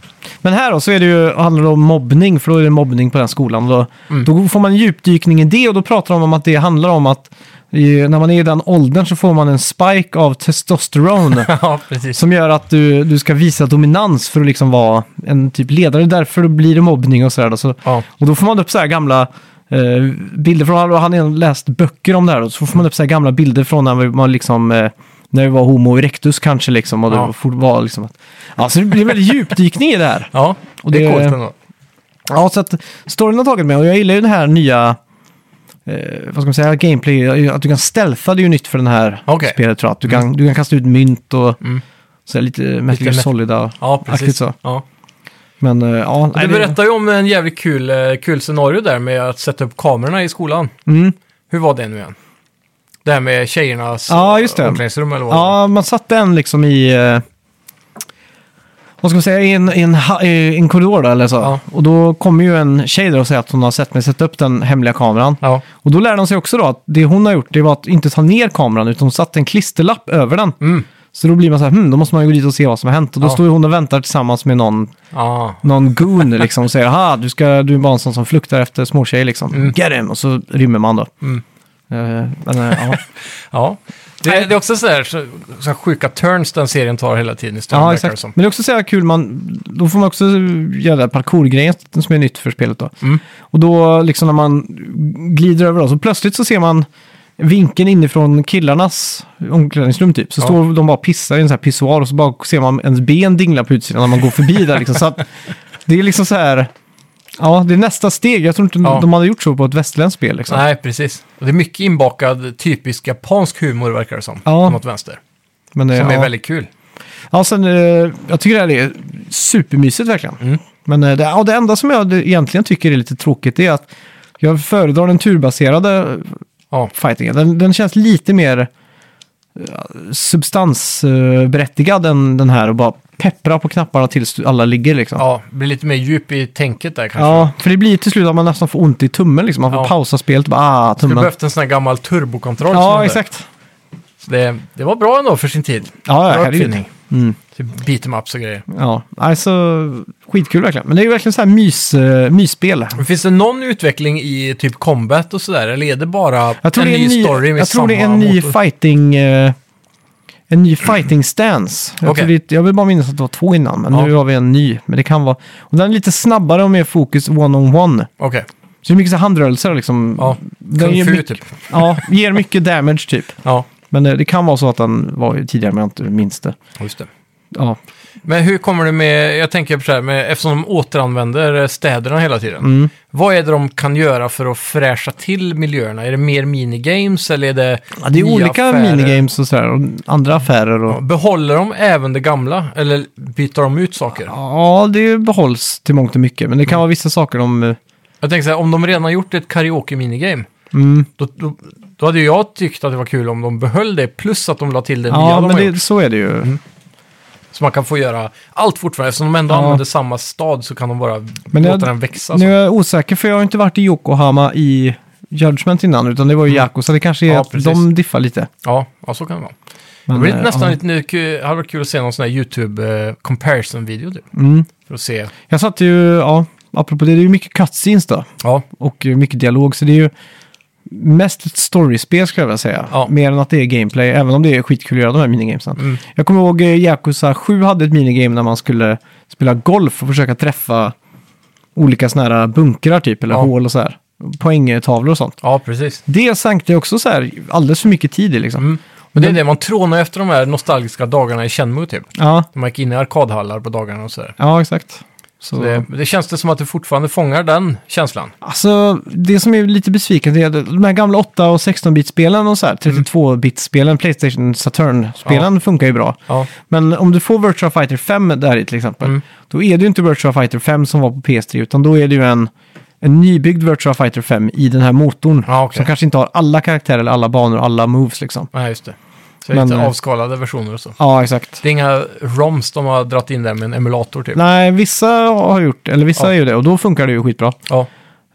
Men här då så är det ju, handlar det om mobbning, för då är det mobbning på den skolan. Och Då, då får man en djupdykning i det och då pratar de om att det handlar om att i, när man är i den åldern så får man en spike av testosteron ja, precis. som gör att du, du ska visa dominans för att liksom vara en typ ledare. Därför blir det mobbning och sådär. då. Så, Ja. och då får man upp så här gamla eh, bilder från, och han har läst böcker om det här, då, så får man upp så här gamla bilder från när man liksom, eh, när vi var homo erectus kanske liksom, och det Ja. ja. var liksom att, ja, så det blir en väldigt djupdykning i det här. Ja, Och det det- är coolt ändå. Ja, så att storyn har tagit med och jag gillar ju den här nya, eh, vad ska man säga, gameplay, att du kan stealtha, det är ju nytt för den här Okej. spelet tror jag, att du kan, du kan kasta ut mynt och Mm. så här, lite Metal Gear me- Solida. Ja, precis. Aktigt så. Ja. Men eh, ja, nej, Du det- berättar ju om en jävligt kul, eh, kul scenario där med att sätta upp kamerorna i skolan. Mm. Hur var det nu igen? Det här med tjejernas Ja, eh, just det. omklädningsrum eller vad det var. Ja, man satte den liksom i... eh, Vad ska man säga? I en, i en, ha- i en korridor då, eller så. Ja. Och då kommer ju en tjej där och säger att hon har sett mig sätta upp den hemliga kameran. Ja, Och då lär de sig också då att det hon har gjort det var att inte ta ner kameran utan hon satte en klisterlapp över den. Mm. Så då blir man så här, hm, då måste man ju gå dit och se vad som har hänt. Och då Ja. står ju hon och väntar tillsammans med någon, ja. (laughs) någon goon liksom och säger, ha du, ska, du är bara en sån som fluktar efter småtjejer liksom. Get him! Och så rymmer man då. Mm. Eh, men, eh, ja. ja. Det, det är också sådär så, så här sjuka turns den serien tar hela tiden i storyn, Ja, verkar exakt. det som. Men det är också så jävla kul, man, då får man också göra det här parkourgrejen som är nytt för spelet då. Mm. Och då liksom när man glider över då, så plötsligt så ser man vinkeln inifrån killarnas omklädningsrum typ. Så Ja. står de bara och pissar i en sån här pissoar och så bara ser man ens ben dingla på utsidan när man går förbi där liksom. Så att det är liksom så här, ja det är nästa steg. Jag tror inte Ja. de hade gjort så på ett västerländskt spel liksom. Nej, precis. Och det är mycket inbakad typisk japansk humor verkar det som. Ja. På något vänster. Men, eh, Som är ja. väldigt kul. Ja, sen, eh, jag tycker det här är supermysigt verkligen. Mm. Men eh, det, ja, det enda som jag egentligen tycker är lite tråkigt är att jag föredrar den turbaserade Ja. fightingen. Den, den känns lite mer eh, substansberättigad än den här och bara peppra på knapparna tills alla ligger liksom. Ja, blir lite mer djup i tänket där kanske. Ja, för det blir till slut att man nästan får ont i tummen liksom. Man får Ja. pausa spelet och bara ah, Du tummen. behövt en sån här gammal turbokontroll. som man Ja, hade. exakt. Så Det, det var bra ändå för sin tid. Ja, ja, Bra herregud. uppfinning. Mm. Typ beat em ups och grejer. Ja, alltså skitkul verkligen. Men det är ju verkligen så här mys, eh, mysspel. Men Finns det någon utveckling i typ combat och sådär? Eller är det bara Jag tror en det är ny en ny, story med jag tror samma det är en ny motor? Mm. fighting... eh, en ny fighting stance. Jag, Okej. tror det, jag vill bara minnas att det var två innan, men Ja. nu har vi en ny. Men det kan vara... Och den är lite snabbare och mer fokus one-on-one. Okej, Så det är mycket så här handrörelser liksom. ja. Den Kung ger fu mycket- typ. (laughs) ja, ger mycket damage typ. Ja, Men eh, det kan vara så att den var ju tidigare, men jag inte minns det. just det. Ja, Men hur kommer det med, jag tänker på så här, med, eftersom de återanvänder städerna hela tiden. Mm. Vad är det de kan göra för att fräscha till miljöerna? Är det mer minigames eller är det ja det är nya olika affärer? minigames och sådär. Och andra affärer Ja, och... Behåller de även det gamla eller byter de ut saker? Ja, det behålls till mångt och mycket. Men det Mm. kan vara vissa saker de... eh, Jag tänker så här, om de redan gjort ett karaoke-minigame, Mm, då, då, då hade ju jag tyckt att det var kul om de behöll det, plus att de la till det nya ja, de men har det, gjort. så är det ju. Så man kan få göra allt fortfarande. Eftersom de ändå Ja. använder samma stad så kan de bara Men jag- låta den växa. Nu så. är jag osäker för jag har inte varit i Yokohama i Judgment innan, utan det var ju Yakuza. Det kanske är Mm. Ja, att precis. de diffar lite. Ja, ja, så kan det vara. Men, det blir eh, nästan ja. lite nu, det hade varit kul att se någon sån här YouTube-comparison-video typ. Mm. För att se. Jag satt ju, ja, apropå det, det är ju mycket cutscenes då. Ja, Och eh, mycket dialog, så det är ju mest ett storyspel skulle jag vilja säga. Ja. Mer än att det är gameplay, även om det är skitkul att göra de här minigamesen. Mm. Jag kommer ihåg eh, Yakuza 7 hade ett minigame när man skulle spela golf och försöka träffa olika såna här bunkrar typ, eller Ja. hål och så här. Poängtavlor och sånt. ja precis. Det sänkte jag också så här alldeles för mycket tid i liksom. Mm. Men det är det, man trånar efter de här nostalgiska dagarna i Chenmu typ. Ja, När man gick in i arkadhallar på dagarna och sådär. ja exakt. Så. Det, det känns det som att du fortfarande fångar den känslan. Alltså, det som är lite besvikande är att de här gamla 8 och 16-bit-spelen och så här, 32-bit-spelen, Playstation Saturn-spelen funkar ju bra. Mm. Ja, Men om du får Virtua Fighter 5 där i till exempel, Mm. då är det ju inte Virtua Fighter 5 som var på PS3, utan då är det ju en, en nybyggd Virtua Fighter 5 i den här motorn. Ja, okej. Som kanske inte har alla karaktärer, eller alla banor, alla moves liksom. nej, just det. Så det är Men, lite eh, avskalade versioner och så. Ja, exakt. Det är inga ROMs de har dratt in där med en emulator typ. Nej, vissa har gjort, eller vissa Ja. är ju det, och då funkar det ju skitbra. Ja.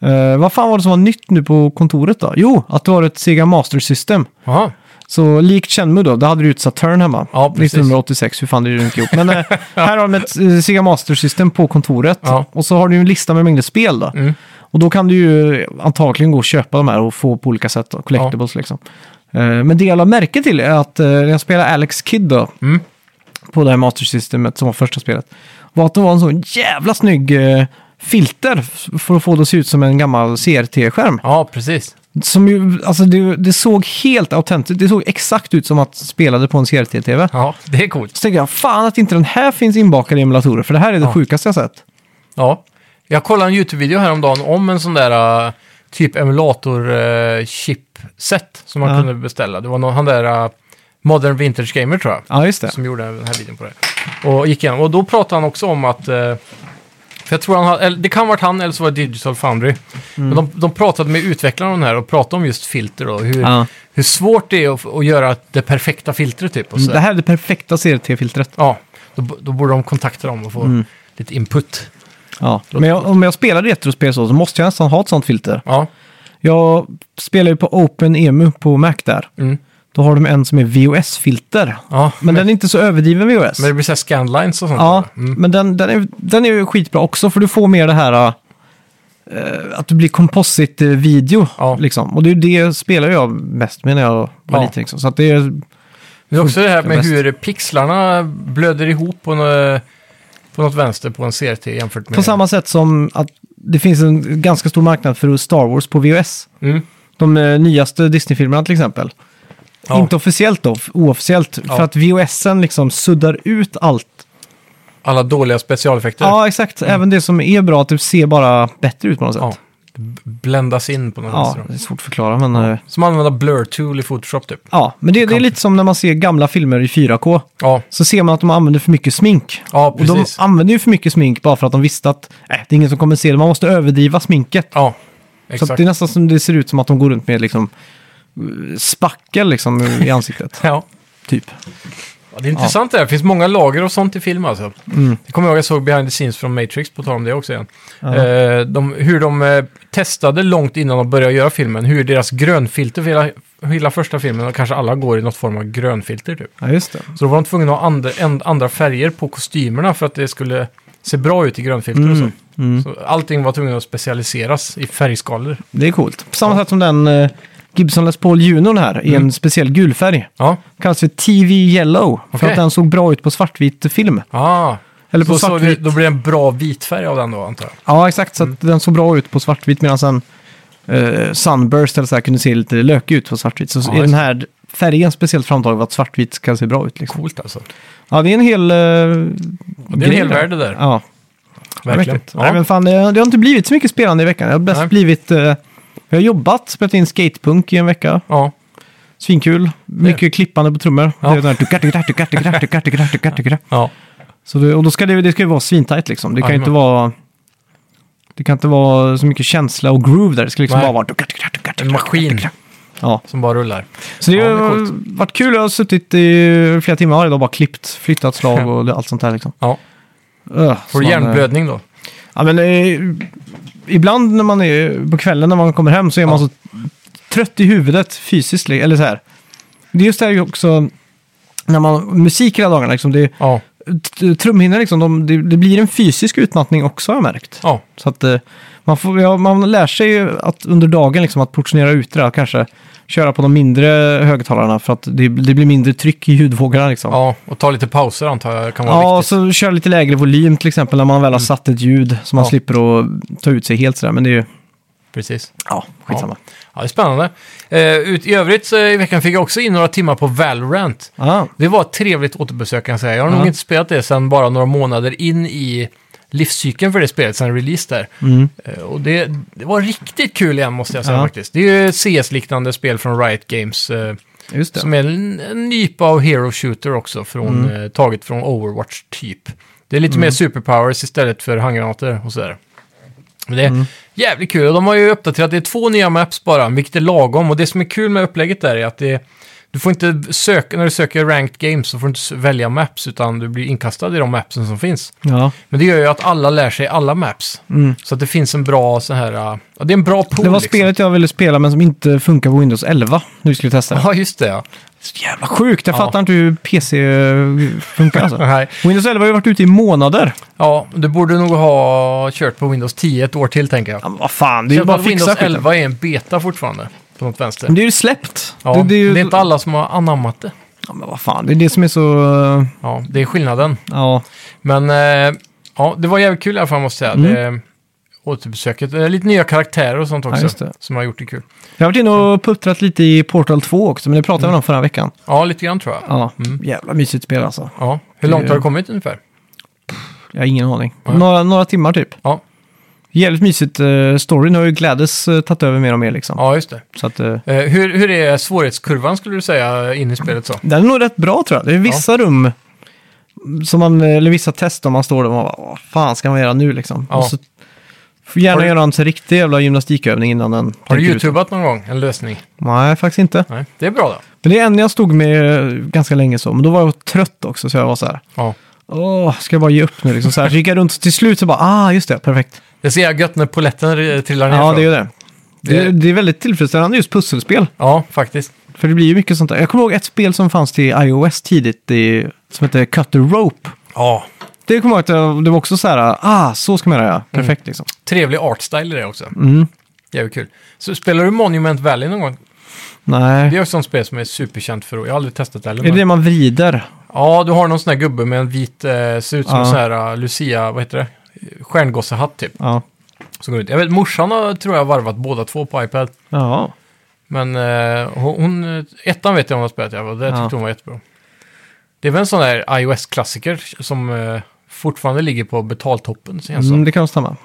Eh, vad fan var det som var nytt nu på kontoret då? Jo, att det var ett Sega Master System. Aha. Så likt Chenmu då, där hade du ju ett Saturn hemma. Ja, precis. 1986, hur fan det är det inte ihop. (laughs) Men eh, här har de ett eh, Sega Master System på kontoret. Ja. Och så har du ju en lista med mängder spel då. Mm. Och då kan du ju antagligen gå och köpa de här och få på olika sätt. Då, collectibles liksom. Eh, men det jag la märke till är att eh, när jag spelade Alex Kidd då, Mm. på det här Master Systemet som var första spelet, var att det var en sån jävla snygg eh, filter f- för att få det att se ut som en gammal CRT-skärm. Ja, precis. Som ju, alltså det, det såg helt autentiskt, det såg exakt ut som att spelade på en CRT-TV. Ja, det är coolt. Så tänkte jag, fan att inte den här finns inbakad i emulatorer, för det här är det Ja. sjukaste jag sett. Ja. Jag kollade en YouTube-video häromdagen om en sån där eh, typ emulator-chipset som man Ja. kunde beställa. Det var någon, han där eh, Modern Vintage Gamer tror jag. Ja, just det. som gjorde den här videon på det. Och gick igenom. Och då pratade han också om att... eh, För jag tror han hade, eller det kan ha varit han eller så var det Digital Foundry. Mm. Men de, de pratade med utvecklarna om den här och pratade om just filter och hur, Ja. hur svårt det är att, att göra det perfekta filtret typ. Och så. Det här är det perfekta CRT-filtret. Ja, då, b- då borde de kontakta dem och få Mm. lite input. Ja. Men jag, om jag spelar retrospel så, så måste jag nästan ha ett sånt filter. Ja, Jag spelar ju på OpenEMU på Mac där. mm. Då har de en som är VOS-filter. ja. Men den är inte så överdriven VOS. men det blir så här scanlines och sånt. Ja, eller? Mm. men den, den, är, den är ju skitbra också för du får mer det här eh, att du blir composite-video. Ja. Liksom. Och det är ju det spelar jag mest med när jag var Ja. liten. Liksom. Så att det är, Det är också det här med bäst. hur pixlarna blöder ihop på, nå- på något vänster på en CRT jämfört med... på samma sätt som att det finns en ganska stor marknad för Star Wars på VHS. Mm. De eh, nyaste Disney-filmerna till exempel. Ja. Inte officiellt då, f- oofficiellt. Ja. För att VHSen liksom suddar ut allt. Alla dåliga specialeffekter. Ja, exakt. Även det som är bra, typ, ser bara bättre ut på något sätt. Mm. Ja, b- bländas in på något Ja, vänster. det är svårt att förklara, men... eh, Som använda blur tool i Photoshop typ. Ja, men det, det är lite som när man ser gamla filmer i 4K. Ja, Så ser man att de använder för mycket smink. ja Och de precis. använder ju för mycket smink bara för att de visste att äh, det är ingen som kommer se det. Man måste överdriva sminket. Ja, Så att exakt. det är nästan som det ser ut som att de går runt med liksom eh, spackel liksom i ansiktet. (laughs) Ja. typ. Ja, det är intressant det här. Det finns många lager av sånt i film alltså. Mm. Jag kommer ihåg jag såg behind the scenes från Matrix, på tal om det också igen. Eh, de, hur de eh, testade långt innan de började göra filmen, hur deras grönfilter för hela, hela första filmen, och kanske alla går i något form av grönfilter typ. Ja, just det. Så då var de tvungna att ha andra, en, andra färger på kostymerna för att det skulle se bra ut i grönfilter och Mm, så. så. Allting var tvungen att specialiseras i färgskalor. Det är coolt. På samma sätt som den eh, Gibson Les Paul Junon här i Mm. en speciell gul färg. Ja, Kallas för TV Yellow. För Okej. att den såg bra ut på svartvit film. ah. Eller på så, så det, svartvit. då blir det en bra vit färg av den då, antar jag. Ja, exakt. Mm. Så att den såg bra ut på svartvitt medan sen eh, Sunburst eller så här kunde se lite lökig ut på svartvitt. Så Ja, är just den här färgen speciellt framtagen för att svartvitt ska se bra ut. Liksom. Coolt alltså. Ja, det är en hel... eh, Det är en grej hel värld det där. Ja, Verkligen. mäktigt. Ja. Nej, men fan, det, det har inte blivit så mycket spelande i veckan. Det har bäst Nej. blivit... eh, jag har jobbat, spelat in skatepunk i en vecka. ja. Svinkul. Mycket klippande på trummor. Ja. Det är den här tukar, tukar, tukar, tukar, tukar, tukar, tukar, tukar. ja. Så det, och då ska det, det ska ju vara svintajt liksom. Det kan ju Jajamän. inte vara... Det kan inte vara så mycket känsla och groove där. Det ska liksom Nej. bara vara... tukar, tukar, tukar, tukar, En maskin tukar. Ja, som bara rullar. så det Ja, har det är coolt. varit kul. Jag har suttit i flera timmar varje dag och bara klippt, flyttat slag och det- allt sånt där liksom. Ja. Öh, så Får du man, eh, hjärnblödning då? Ja, men eh, ibland när man är på kvällen när man kommer hem så är man Ja. så trött i huvudet fysiskt. li- Eller så här. Det är just det här ju också när man musik hela dagarna liksom. Det, Ja. t- trumhinnor liksom, de, det, det blir en fysisk utmattning också har jag märkt. Ja. Så att eh, man, får, ja, man lär sig ju att under dagen liksom att portionera ut det där, kanske köra på de mindre högtalarna för att det, det blir mindre tryck i hudvågorna liksom. ja. Och ta lite pauser antar jag kan vara Ja, Mm. och viktigt. så köra lite lägre volym till exempel när man väl har satt ett ljud så man Ja. slipper att ta ut sig helt sådär. Men det är ju, Precis. ja, skitsamma. Ja, det är spännande. Eh, ut, I övrigt så, i veckan fick jag också in några timmar på Valorant. Ja, Ah, Det var ett trevligt återbesök kan jag säga. Jag har Ja. nog inte spelat det sedan bara några månader in i livscykeln för det spelet sen release där. Mm. Eh, Och det, det var riktigt kul igen måste jag säga Ja. faktiskt. Det är ju CS-liknande spel från Riot Games. eh, Just det. Som är en, en nyp av Hero Shooter också, från, eh, taget från Overwatch typ. Det är lite mer superpowers istället för handgranater och sådär. Men det är jävligt kul och de har ju uppdaterat, det är två nya maps bara, vilket är lagom. Och det som är kul med upplägget där är att det du får inte söka, när du söker ranked games så får du inte s- välja maps utan du blir inkastad i de mapsen som finns. Ja. Men det gör ju att alla lär sig alla maps. Mm. Så att det finns en bra så här, äh, ja det är en bra pool Det var liksom. spelet jag ville spela men som inte funkar på Windows 11. Nu skulle vi testa det. liksom. (laughs) Ja, just det ja. Så jävla sjukt, jag Ja. fattar inte hur PC funkar (laughs) alltså. Nej. Windows 11 har ju varit ute i månader. Ja, du borde nog ha kört på Windows 10 ett år till tänker jag. Ja, men vad fan, det är ju Jag tror bara att att fixa Windows skiten. 11 är en beta fortfarande, på något vänster. Men det är ju släppt. Ja, det, det är ju... inte alla som har anammat det. Ja, men vad fan, det är det som är så... eh, Ja, det är skillnaden. Ja, Men eh, ja, det var jävligt kul i alla fall måste jag säga. Det, återbesöket. Eh, Lite nya karaktärer och sånt också. just det. som har gjort det kul. jag har varit inne och puttrat lite i Portal 2 också, men det pratade vi om förra veckan. Ja, lite grann tror jag. Mm. Ja. Mm. Ja, jävla mysigt spel alltså. Hur långt har Det- du kommit ungefär? Jag har ingen aning. Nej. Några, några timmar typ. Ja. Jävligt mysigt. Uh, storyn har ju Gladys eh, tagit över mer och mer liksom. Ja, just det. Så att, eh, Eh, hur, hur är svårighetskurvan skulle du säga in i spelet så? den är nog rätt bra tror jag. Det är vissa rum, som man, eh, eller vissa test om man står där och man bara, vad fan ska man göra nu liksom? Ja. Och så, får gärna Har du- göra en så riktig jävla gymnastikkövning innan den. Har du tänker ut. youtubat någon gång en lösning? Nej, faktiskt inte. Nej, det är bra då. Men det är en jag stod med eh, ganska länge så, men då var jag trött också så jag var så här, Ja. åh, ska jag bara ge upp nu liksom? Så, här, så gick jag runt till slut så bara, ah, just det, perfekt. Det ser jag gött när poletten eh, trillar ner. Ja, så. det är ju det. Det är, Det- det är väldigt tillfredsställande just pusselspel. ja, faktiskt. För det blir ju mycket sånt där. Jag kommer ihåg ett spel som fanns till iOS tidigt i, som hette Cut the Rope. Ja, Det kommer jag ihåg att jag- det var också så här, ah, så ska man göra. Perfekt liksom. trevlig artstyle i det också. Mm. Jävligt kul. Så spelar du Monument Valley någon gång? Det Nej. är också ett sånt spel som är superkänt för... Jag har aldrig testat det heller. Är det men- det man vrider? Ja, du har någon sån här gubbe med en vit, eh, ser ut som Ja. en sån här eh, Lucia, vad heter det? Stjärngossehatt typ. Ja. Som går ut. Jag vet, morsan har, tror jag varvat båda två på iPad. Ja. Men eh, hon- hon, ettan vet jag hon har spelat, jag var, det tyckte Ja. hon var jättebra. Det är väl en sån där iOS-klassiker som eh, fortfarande ligger på betaltoppen. känns det Mm, som. det kan stämma.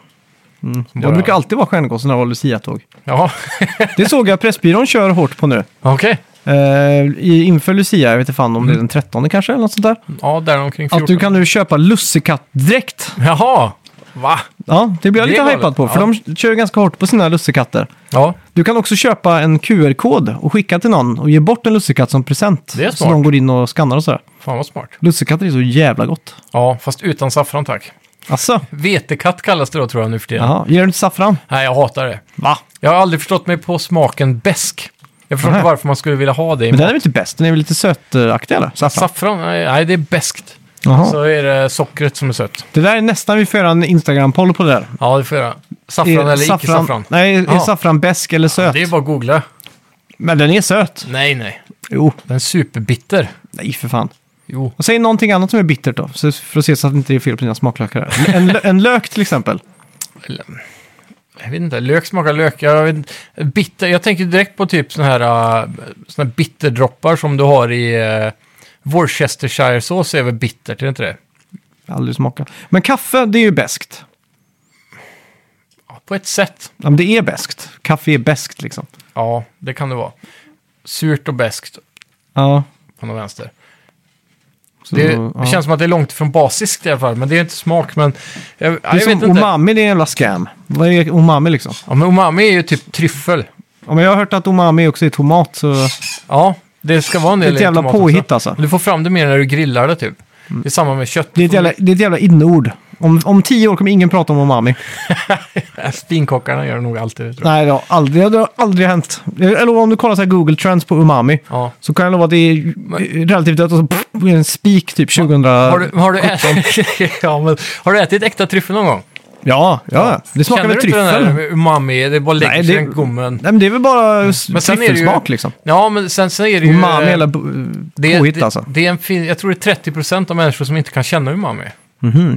Mm. Bara- Jag brukar alltid vara stjärngosse när det var Lucia-tåg. Ja, Det såg jag Pressbyrån kör hårt på nu. (laughs) okej. Eh, i- inför Lucia, jag vet inte fan om Mm. det är den 13 kanske eller något sånt där. Ja, där omkring 14. Att du kan nu köpa lussekattdräkt. Jaha, va? Ja, det blir Det jag är lite galet. hypad på, för Ja. de kör ganska hårt på sina lussekatter. Ja, Du kan också köpa en QR-kod och skicka till någon och ge bort en lussekatt som present. Det är Så smart. de går in och skannar och sådär. fan vad smart. Lussekatter är så jävla gott. Ja, fast utan saffran tack. Alltså, Vetekatt kallas det då tror jag nu för tiden. jaha, ger du inte saffran? Nej, jag hatar det. Va? Jag har aldrig förstått mig på smaken besk. Jag förstår Nähä. inte varför man skulle vilja ha det. i Men den är mat. väl inte bäst? Den är väl lite sötaktig eller? Saffran? Saffran? Nej, nej, det är beskt. Jaha. Så är det sockret som är sött. Det där är nästan, vi får göra en Instagram-poll på det där. Ja, det får jag göra. Saffran Är eller icke-saffran? Nej, är Ja. saffran besk eller söt? Det är bara att googla. Men den är söt. Nej, nej. Jo, Den är superbitter. nej för fan. Jo. Och säg någonting annat som är bittert då, så- för att se så att det inte är fel på dina smaklökar. här. En, lö- en lök till exempel. Jag vet inte, lök smakar lök. Jag, vet, inte. bitter, jag tänker direkt på typ såna här, äh, såna här bitterdroppar som du har i uh, Worcestershiresås är väl bittert, är det inte det? Jag har Aldrig smakat. Men kaffe, det är ju beskt. Ja, på ett sätt. Ja, men det är beskt. Kaffe är beskt liksom. Ja, det kan det vara. Surt och beskt Ja. på något vänster. Så, det, Mm, ja. det känns som att det är långt från basiskt i alla fall, men det är inte smak. Men jag, ja, det är jag vet som inte. umami, det är en jävla scam. Vad är umami liksom? Ja, men umami är ju typ tryffel. Ja, men jag har hört att umami också är tomat, så Ja, det ska vara en det är del ett i jävla tomaten påhitt också. alltså. Du får fram det mer när du grillar det typ. Det är samma med kött. Det är ett jävla, det är ett jävla inneord. Om, om tio år kommer ingen prata om umami. Finkockarna Äh, gör det nog alltid. Tror jag. Nej, det har aldrig, det har aldrig hänt. Eller om du kollar så här Google Trends på umami. Ja. Så kan jag lova att det är relativt dött och så pff, är det en spik typ 2000. Har, du, har, du ätit, (laughs) ja, men, har du ätit äkta tryffel någon gång? Ja, ja. Det smakar Känner väl du inte tryffel. den där umami? Det bara lägger Nej, sig i det- den gommen. Mm. Nej, men det är väl bara s- Men sen är det ju- tryffelsmak liksom. Ja, men sen, sen är det ju... Umami eh, eller b- det, påhitt det, alltså. det är en fin, Jag tror det är 30% av människor som inte kan känna umami.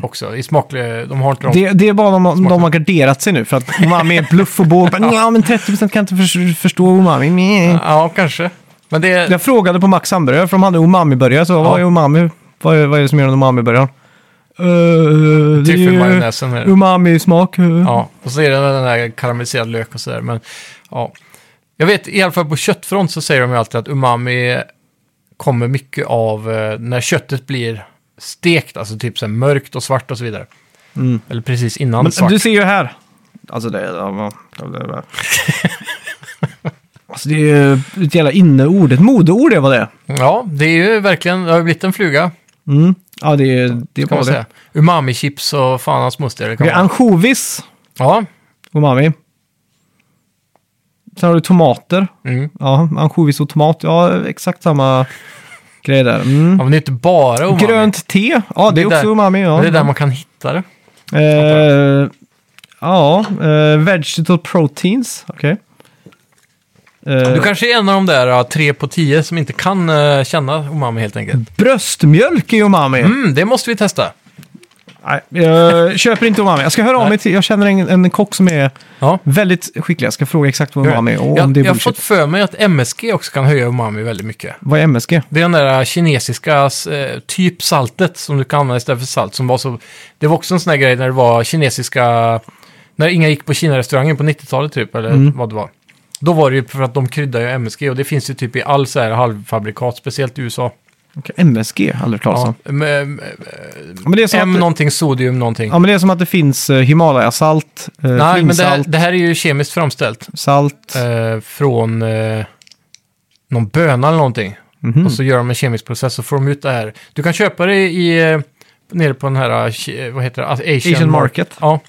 Också, i smak, de har inte de Mhm. Det, det är bara de, de har garderat sig nu för att umami är bluff och båg. Men, Ja, men 30% kan inte förs- förstå umami. Nej. Ja, kanske. Men det är... Jag frågade på Max hamburgare för de hade umami-burgare. Så vad Ja. är umami? Vad är, vad är det som gör en umami-burgare? eh, det är ju Tryffelmajonnäsen är det. Umami-smak. eh. Ja, och så är det den där karamelliserad lök och sådär. Men ja, jag vet i alla fall på köttfront så säger de ju alltid att umami kommer mycket av eh, när köttet blir stekt, alltså typ så här mörkt och svart och så vidare. Mm. Eller precis innan Men svart. du ser ju här. Alltså det, ja, man- alltså det är ju ett jävla inneord, ett modeord det var det. Ja, det är ju verkligen, det har ju blivit en fluga Mm. Ja, det är, det är kan bara man det. säga. Umami-chips och fan hans moster. det kan Det är vara. ansjovis, Ja, umami. Sen har du tomater. mm. Ja, ansjovis och tomat. Ja, exakt samma grej där. Mm. ja, men det är inte bara umami. Grönt te. Ja, det Det är är också där- umami. Ja. Men det är där man kan hitta det. Eh, ja, eh, vegetable proteins. Okej. Eh, Du kanske är en av de där ja, tre på tio som inte kan eh, känna umami helt enkelt. Bröstmjölk är umami. Mm, det måste vi testa. Nej, jag köper inte umami. Jag ska höra av mig till, jag känner en, en kock som är Ja. väldigt skicklig. Jag ska fråga exakt vad umami är och om jag, det är jag har bullshit. fått för mig att MSG också kan höja umami väldigt mycket. Vad är MSG? Det är den där kinesiska eh, typ saltet som du kan använda istället för salt. Som var så, det var också en sån här grej när det var kinesiska... När inga gick på Kina-restaurangen på 90-talet typ, eller Mm. vad det var. Då var det ju för att de kryddar ju MSG och det finns ju typ i all så här halvfabrikat, speciellt i USA. Okej, MSG, aldrig talas Ja, om. men, Men det är som M att, någonting, sodium någonting. ja, men det är som att det finns eh, Himalayasalt, eh, Nej, men det här, flingsalt, det här är ju kemiskt framställt. salt. eh, från eh, någon böna eller någonting. Mhm. Och så gör de en kemisk process och får de ut det här. Du kan köpa det i, eh, nere på den här, eh, ke- vad heter det, Asian, Asian market. Ja,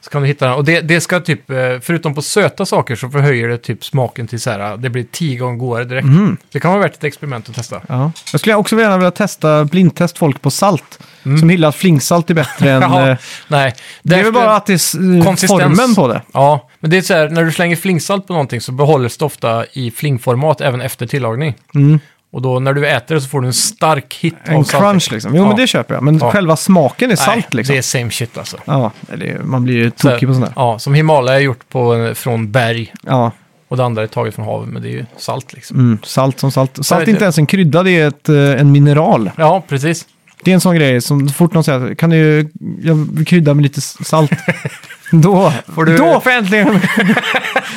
så kan du hitta den. Och det, det ska typ, eh, förutom på söta saker så förhöjer det typ smaken till så här, det blir tio gånger godare direkt. Mhm. Det kan vara värt ett experiment att testa. Ja. Jag skulle också gärna vilja testa blindtest folk på salt. Mm. Som gillar att flingsalt är (laughs) bättre än... Jaha, eh, nej. det är väl bara att det är s- eh, Konsistens. formen på det. Ja, men det är så här, när du slänger flingsalt på någonting så behålls det ofta i flingformat även efter tillagning. Och då när du äter det så får du en stark hit av Mm. En saltet. crunch liksom. Jo, Ja. men det köper jag. Men Ja. själva smaken är Nej, salt liksom. det är same shit alltså. Ja, eller man blir ju Så här, tokig på sånt där. Ja, som Himalaya är gjort på, från berg Ja. och det andra är taget från havet, men det är ju salt liksom. Mm, salt som salt. Salt vet är jag. inte ens en krydda, det är ett, eh, en mineral. Ja, precis. Det är en sån grej som så fort någon säger kan du jag vill krydda med lite s- (laughs) salt. då, får du- då får jag äntligen... (laughs)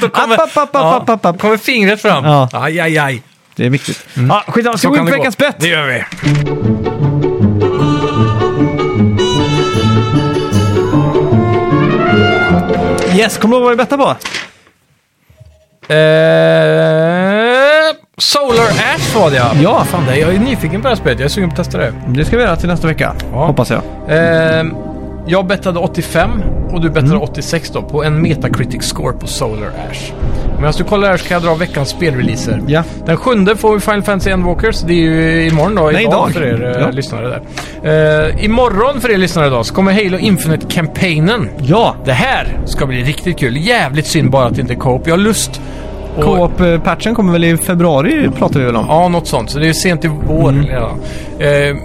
Då App, app, app, ja, app, app, app. kommer fingret fram. Ja. Aj, aj, aj. Det är viktigt. Ja, skitsamma, ska Mm. Så vi gå kan in på det gå. veckans bett? Det gör vi. Yes, kommer du ihåg vad vi bettade på? Eh, Solar Ash var det ja. Ja. fan det, jag är nyfiken på det här spelet. Jag är sugen på att testa det. Det ska vi göra till nästa vecka, Ja. hoppas jag. Eh, jag bettade 85 och du Mm. bettade 86 då på en Metacritic score på Solar Ash. Medan du kollar här så kan jag dra veckans spelreleaser. Ja. Den sjunde får vi Final Fantasy Endwalkers. Det är ju imorgon då. Nej, idag. för er eh, Ja. lyssnare där. Eh, imorgon för er lyssnare idag så kommer Halo Infinite-campaignen. Ja, Det här ska bli riktigt kul. Jävligt synd bara att det inte är co-op. Jag har lust. att- co-op-patchen eh, kommer väl i februari, pratar vi väl om? Ja, något sånt. Så det är sent i vår redan. Eh,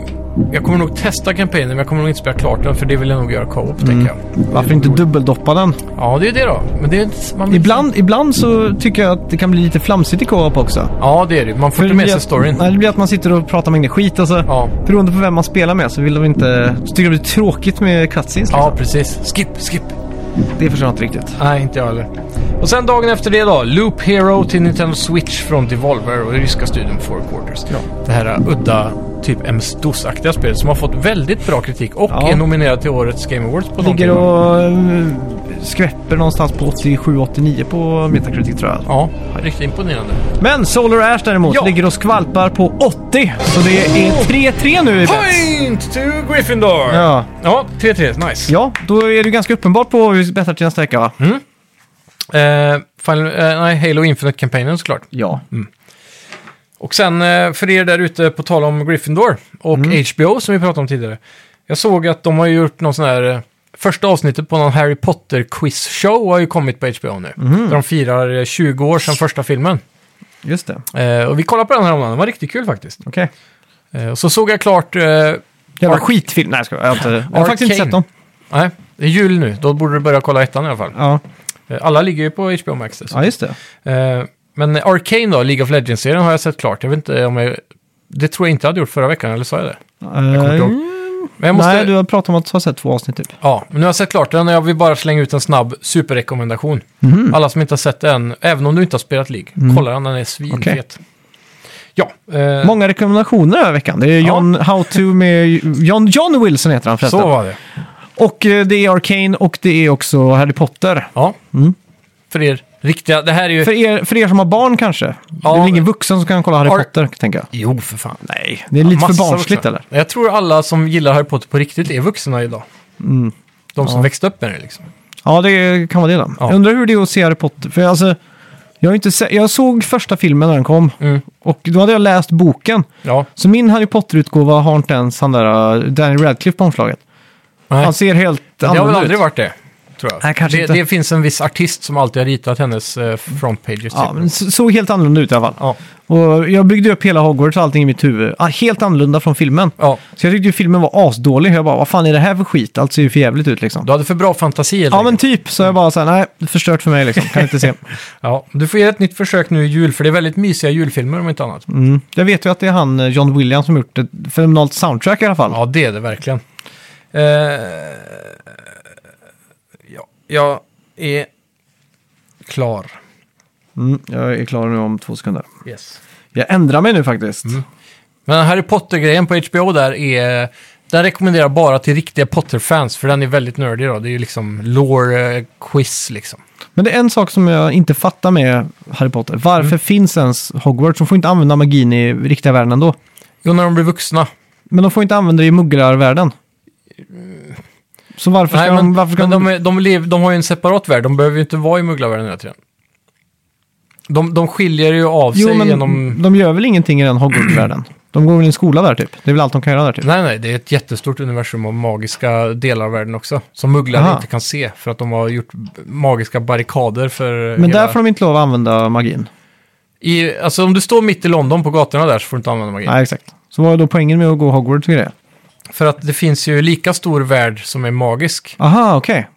jag kommer nog testa kampanjen, men jag kommer nog inte spela klart den, för det vill jag nog göra co-op, tänker jag. Varför inte dubbeldoppa den? Ja, det är det då. Men det är inte, man vill- Ibland, ibland så tycker jag att det kan bli lite flamsigt i co-op också. Ja, det är det. Man får inte med sig storyn. Nej, det blir att man sitter och pratar mängder skit och så. Ja. Beroende på vem man spelar med så vill de inte... Så tycker de det är tråkigt med cutscenes. Ja, precis. Skip, skip. Det förstår jag inte riktigt. Nej, inte jag heller. Och sen dagen efter det då. Loop Hero till Nintendo Switch från Devolver och ryska studion Four Quarters. Det här är udda, typ MS-DOS-aktiga spelet som har fått väldigt bra kritik och Ja. är nominerad till årets Game Awards på någonting. Ligger och eh, skväpper någonstans på 87-89 på Metacritic tror jag. Ja, riktigt imponerande. Men Solar Ash däremot Ja. ligger och skvalpar på 80. Så det är 3-3 nu i bets. Point to Gryffindor! Ja. Ja, 3-3. Nice. Ja, då är det ganska uppenbart på vad vi bettar till nästa vecka va? Mm. Eh, Final, eh, nej, Halo Infinite-kampanjen såklart. Ja. Och sen eh, för er där ute, på tal om Gryffindor och HBO som vi pratade om tidigare. Jag såg att de har ju gjort någon sån här... eh, Första avsnittet på någon Harry Potter-quiz-show har ju kommit på HBO nu. Där de firar eh, 20 år sedan första filmen. Just det. Eh, och vi kollade på den här om den var riktigt kul faktiskt. Okej. Eh, och så såg jag klart... Eh, Jävla Ar- skitfilm. Nej, jag skojar. Jag har, inte, jag har faktiskt inte Arcane. sett dem. Nej, det är jul nu. Då borde du börja kolla ettan i alla fall. Ja. Eh, alla ligger ju på HBO Max. dessutom. ja, just det. Eh, men Arcane då, League of Legends-serien har jag sett klart. Jag vet inte om jag... Det tror jag inte jag hade gjort förra veckan, eller sa jag det? Jag kommer inte Men jag måste... Eh, Nej, du har pratat om att du har sett två avsnitt typ. Ja, men nu har jag sett klart den och jag vill bara slänga ut en snabb superrekommendation. Mhm. Alla som inte har sett den, även om du inte har spelat League, kolla den, den är svinfet. Ja, eh, Mm. Många rekommendationer den här veckan. Det är John How To med John, John Wilson heter han förresten. så var det. Och eh, det är Arcane och det är också Harry Potter. Ja. För er riktiga, det här är ju... Mm. För er, för er som har barn kanske? Ja. Det är väl ingen vuxen som kan kolla Harry Har- Potter, tänker jag. Jo, för fan. Nej, det är lite för Massa barnsligt vuxna. eller? Jag tror alla som gillar Harry Potter på riktigt är vuxna idag. Mm. De som växte upp med det liksom. Ja, det kan vara det då. Ja. Jag undrar hur det är att se Harry Potter. För alltså, jag, har inte se- jag såg första filmen när den kom Mm. och då hade jag läst boken. Ja. Så min Harry Potter-utgåva har inte ens han där uh, Danny Radcliffe på omslaget. Nej. Han ser helt det har väl annorlunda aldrig ut. varit det, tror jag. Nej, kanske det, inte. det finns en viss artist som alltid har ritat hennes eh, frontpages. Ja, typ. men så- såg helt annorlunda ut i alla fall. ja. Och jag byggde upp hela Hogwarts och allting i mitt huvud. Ah, Helt annorlunda från filmen. ja. Så jag tyckte ju filmen var asdålig. Jag bara, vad fan är det här för skit? Allt ser ju för jävligt ut liksom. Du hade för bra fantasi helt Ja enkelt. men typ, så jag bara så här, nej, det är förstört för mig liksom. Kan inte se. Ja, du får ge ett nytt försök nu i jul, för det är väldigt mysiga julfilmer om inte annat. Mm. Jag vet ju att det är han, eh, John Williams, som gjort ett fenomenalt soundtrack i alla fall. Ja, det är det verkligen. Eh, ja, jag är klar. Mm, jag är klar nu om två sekunder. Yes. Jag ändrar mig nu faktiskt. Men Harry Potter-grejen på HBO där är... Den rekommenderar jag bara till riktiga Potter-fans, för den är väldigt nördig då. Det är ju liksom lore-quiz liksom. Men det är en sak som jag inte fattar med Harry Potter. Varför finns ens Hogwarts? De får inte använda magin i riktiga världen ändå. Jo, när de blir vuxna. Men de får inte använda det i mugglarvärlden. Så varför ska Nej, men, de... Varför ska men de, är, de, lev, de har ju en separat värld, de behöver ju inte vara i mugglarvärlden hela tiden. De, de skiljer ju av Jo, sig men genom... de gör väl ingenting i den Hogwarts-världen? De går väl i en skola där typ? Det är väl allt de kan göra där typ? Nej, nej, det är ett jättestort universum av magiska delar av världen också. Som mugglare Aha. inte kan se, för att de har gjort magiska barrikader för Men hela... där får de inte lov att använda magin. I, alltså om du står mitt i London på gatorna där så får du inte använda magi. Nej, exakt. Så vad är då poängen med att gå Hogwarts och grejer? För att det finns ju lika stor värld som är magisk. Aha, okej.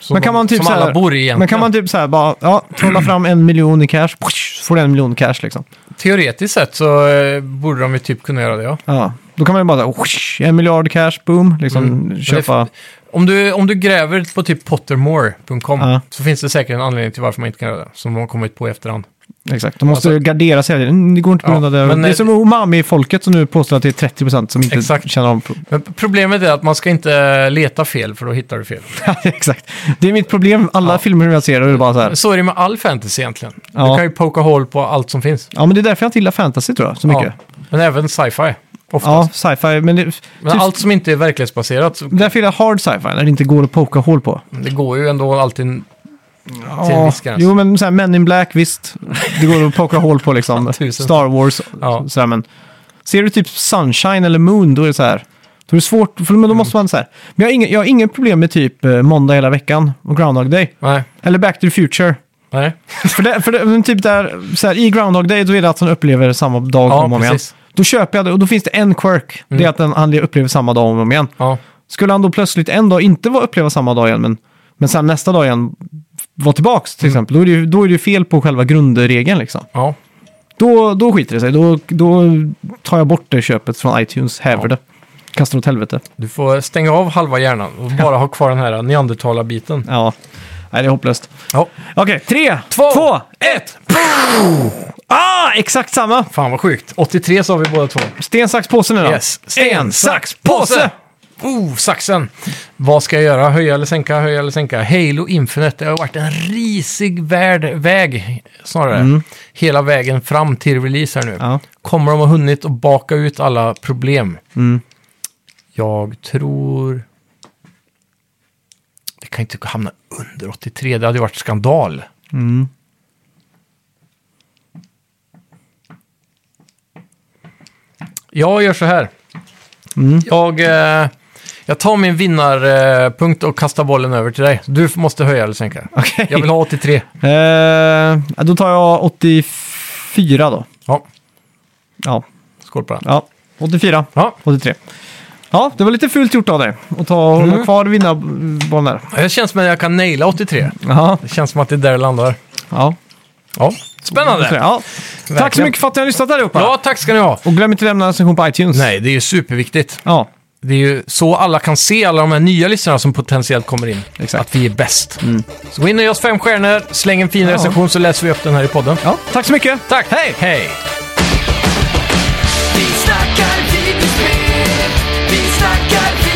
Som, Men kan man typ som så här- alla bor i egentligen. Men kan man typ så här bara, ja, trolla fram en miljon i cash, push, får du en miljon cash liksom. Teoretiskt sett så eh, borde de ju typ kunna göra det, ja. Ja. Då kan man ju bara, whoosh, en miljard cash, boom, liksom Mm. Men köpa. det- Om du, om du gräver på typ pottermore.com Ja. så finns det säkert en anledning till varför man inte kan göra det. Som de har kommit på i efterhand. Exakt, de måste Alltså- gardera sig. Mm, Det går inte på Ja, grund av det. men- det är som umami-folket som nu påstår att det är 30% som inte Exakt. känner av... (laughs) pro- Men problemet är att man ska inte leta fel för då hittar du fel. Ja, Exakt. Det är mitt problem. Alla filmer som jag ser är det bara så här. Så är det med all fantasy egentligen. Du Ja. kan ju poka hål på allt som finns. Ja, men det är därför jag inte gillar fantasy tror jag, så mycket. Ja. Men även sci-fi. Ja, Oftast. sci-fi. Men, det, Men typ- allt som inte är verklighetsbaserat, så- därför gillar jag hard sci-fi, när det inte går att poka hål på. det går ju ändå alltid till en Ja, viss gräns. Jo, men så här, Men in Black, visst. Det går att poka hål (laughs) på liksom. Tusen. Star Wars, Ja. så här, men ser du typ Sunshine eller Moon, då är det så här. Då är det svårt, för men då måste man så här. Men jag har, ingen, jag har ingen problem med typ eh, måndag hela veckan och Groundhog Day. Nej, Eller Back to the Future. (laughs) nej. för det, för det, men typ där, så här, i Groundhog Day, då är det att han upplever samma dag Ja, om och om igen. precis. Mm. Då köper jag det och då finns det en quirk. Det är att den, han upplever samma dag om och om igen. Ja. Skulle han då plötsligt en dag inte vara- uppleva samma dag igen, men, men sen nästa dag igen vara tillbaks till exempel, då är, det ju, då är det ju fel på själva grundregeln liksom. ja. Då, då skiter det sig. Då, då tar jag bort det köpet från iTunes, häver det. Kastar åt helvete. Du får stänga av halva hjärnan och bara ha kvar den här neandertalarbiten. Ja, Nej, det är hopplöst. Ja. Okej, tre, Två, ett! Ah, exakt samma! Fan vad sjukt. 83 sa vi båda två. Sten, sax, påse nu då. Yes. Sten, sax, påse! Oh, saxen! Vad ska jag göra? Höja eller sänka? Höja eller sänka? Halo Infinite, det har varit en risig värld, väg snarare. Hela vägen fram till release här nu. Ja. Kommer de ha hunnit att baka ut alla problem? Jag tror... Det kan inte hamna under 83, det hade ju varit skandal. Jag gör så här. Jag, eh, jag tar min vinnarpunkt och kastar bollen över till dig. Du måste höja eller sänka. Okej. Jag vill ha 83. Eh, då tar jag 84 då. Ja, Ja, skål på den. ja. 84. Ja, 83. Ja, det var lite fult gjort av dig. Att ta och hålla kvar vinnarbollen där. det känns som att jag kan naila 83. Ja. Det känns som att det är där det landar. ja. Ja, Ja. spännande. Tack så mycket för att ni har lyssnat allihopa. Ja, tack ska ni ha. Och glöm inte att lämna en recension på iTunes. Nej, det är ju superviktigt. Ja. det är ju så alla kan se alla de här nya lyssnarna som potentiellt kommer in. Exakt. Mm. Att vi är bäst. Så gå in och ge oss fem stjärnor, släng en fin recension så läser vi upp den här i podden. Ja, tack så mycket! Tack! Hej! Hej! Vi snackar videospel, vi snackar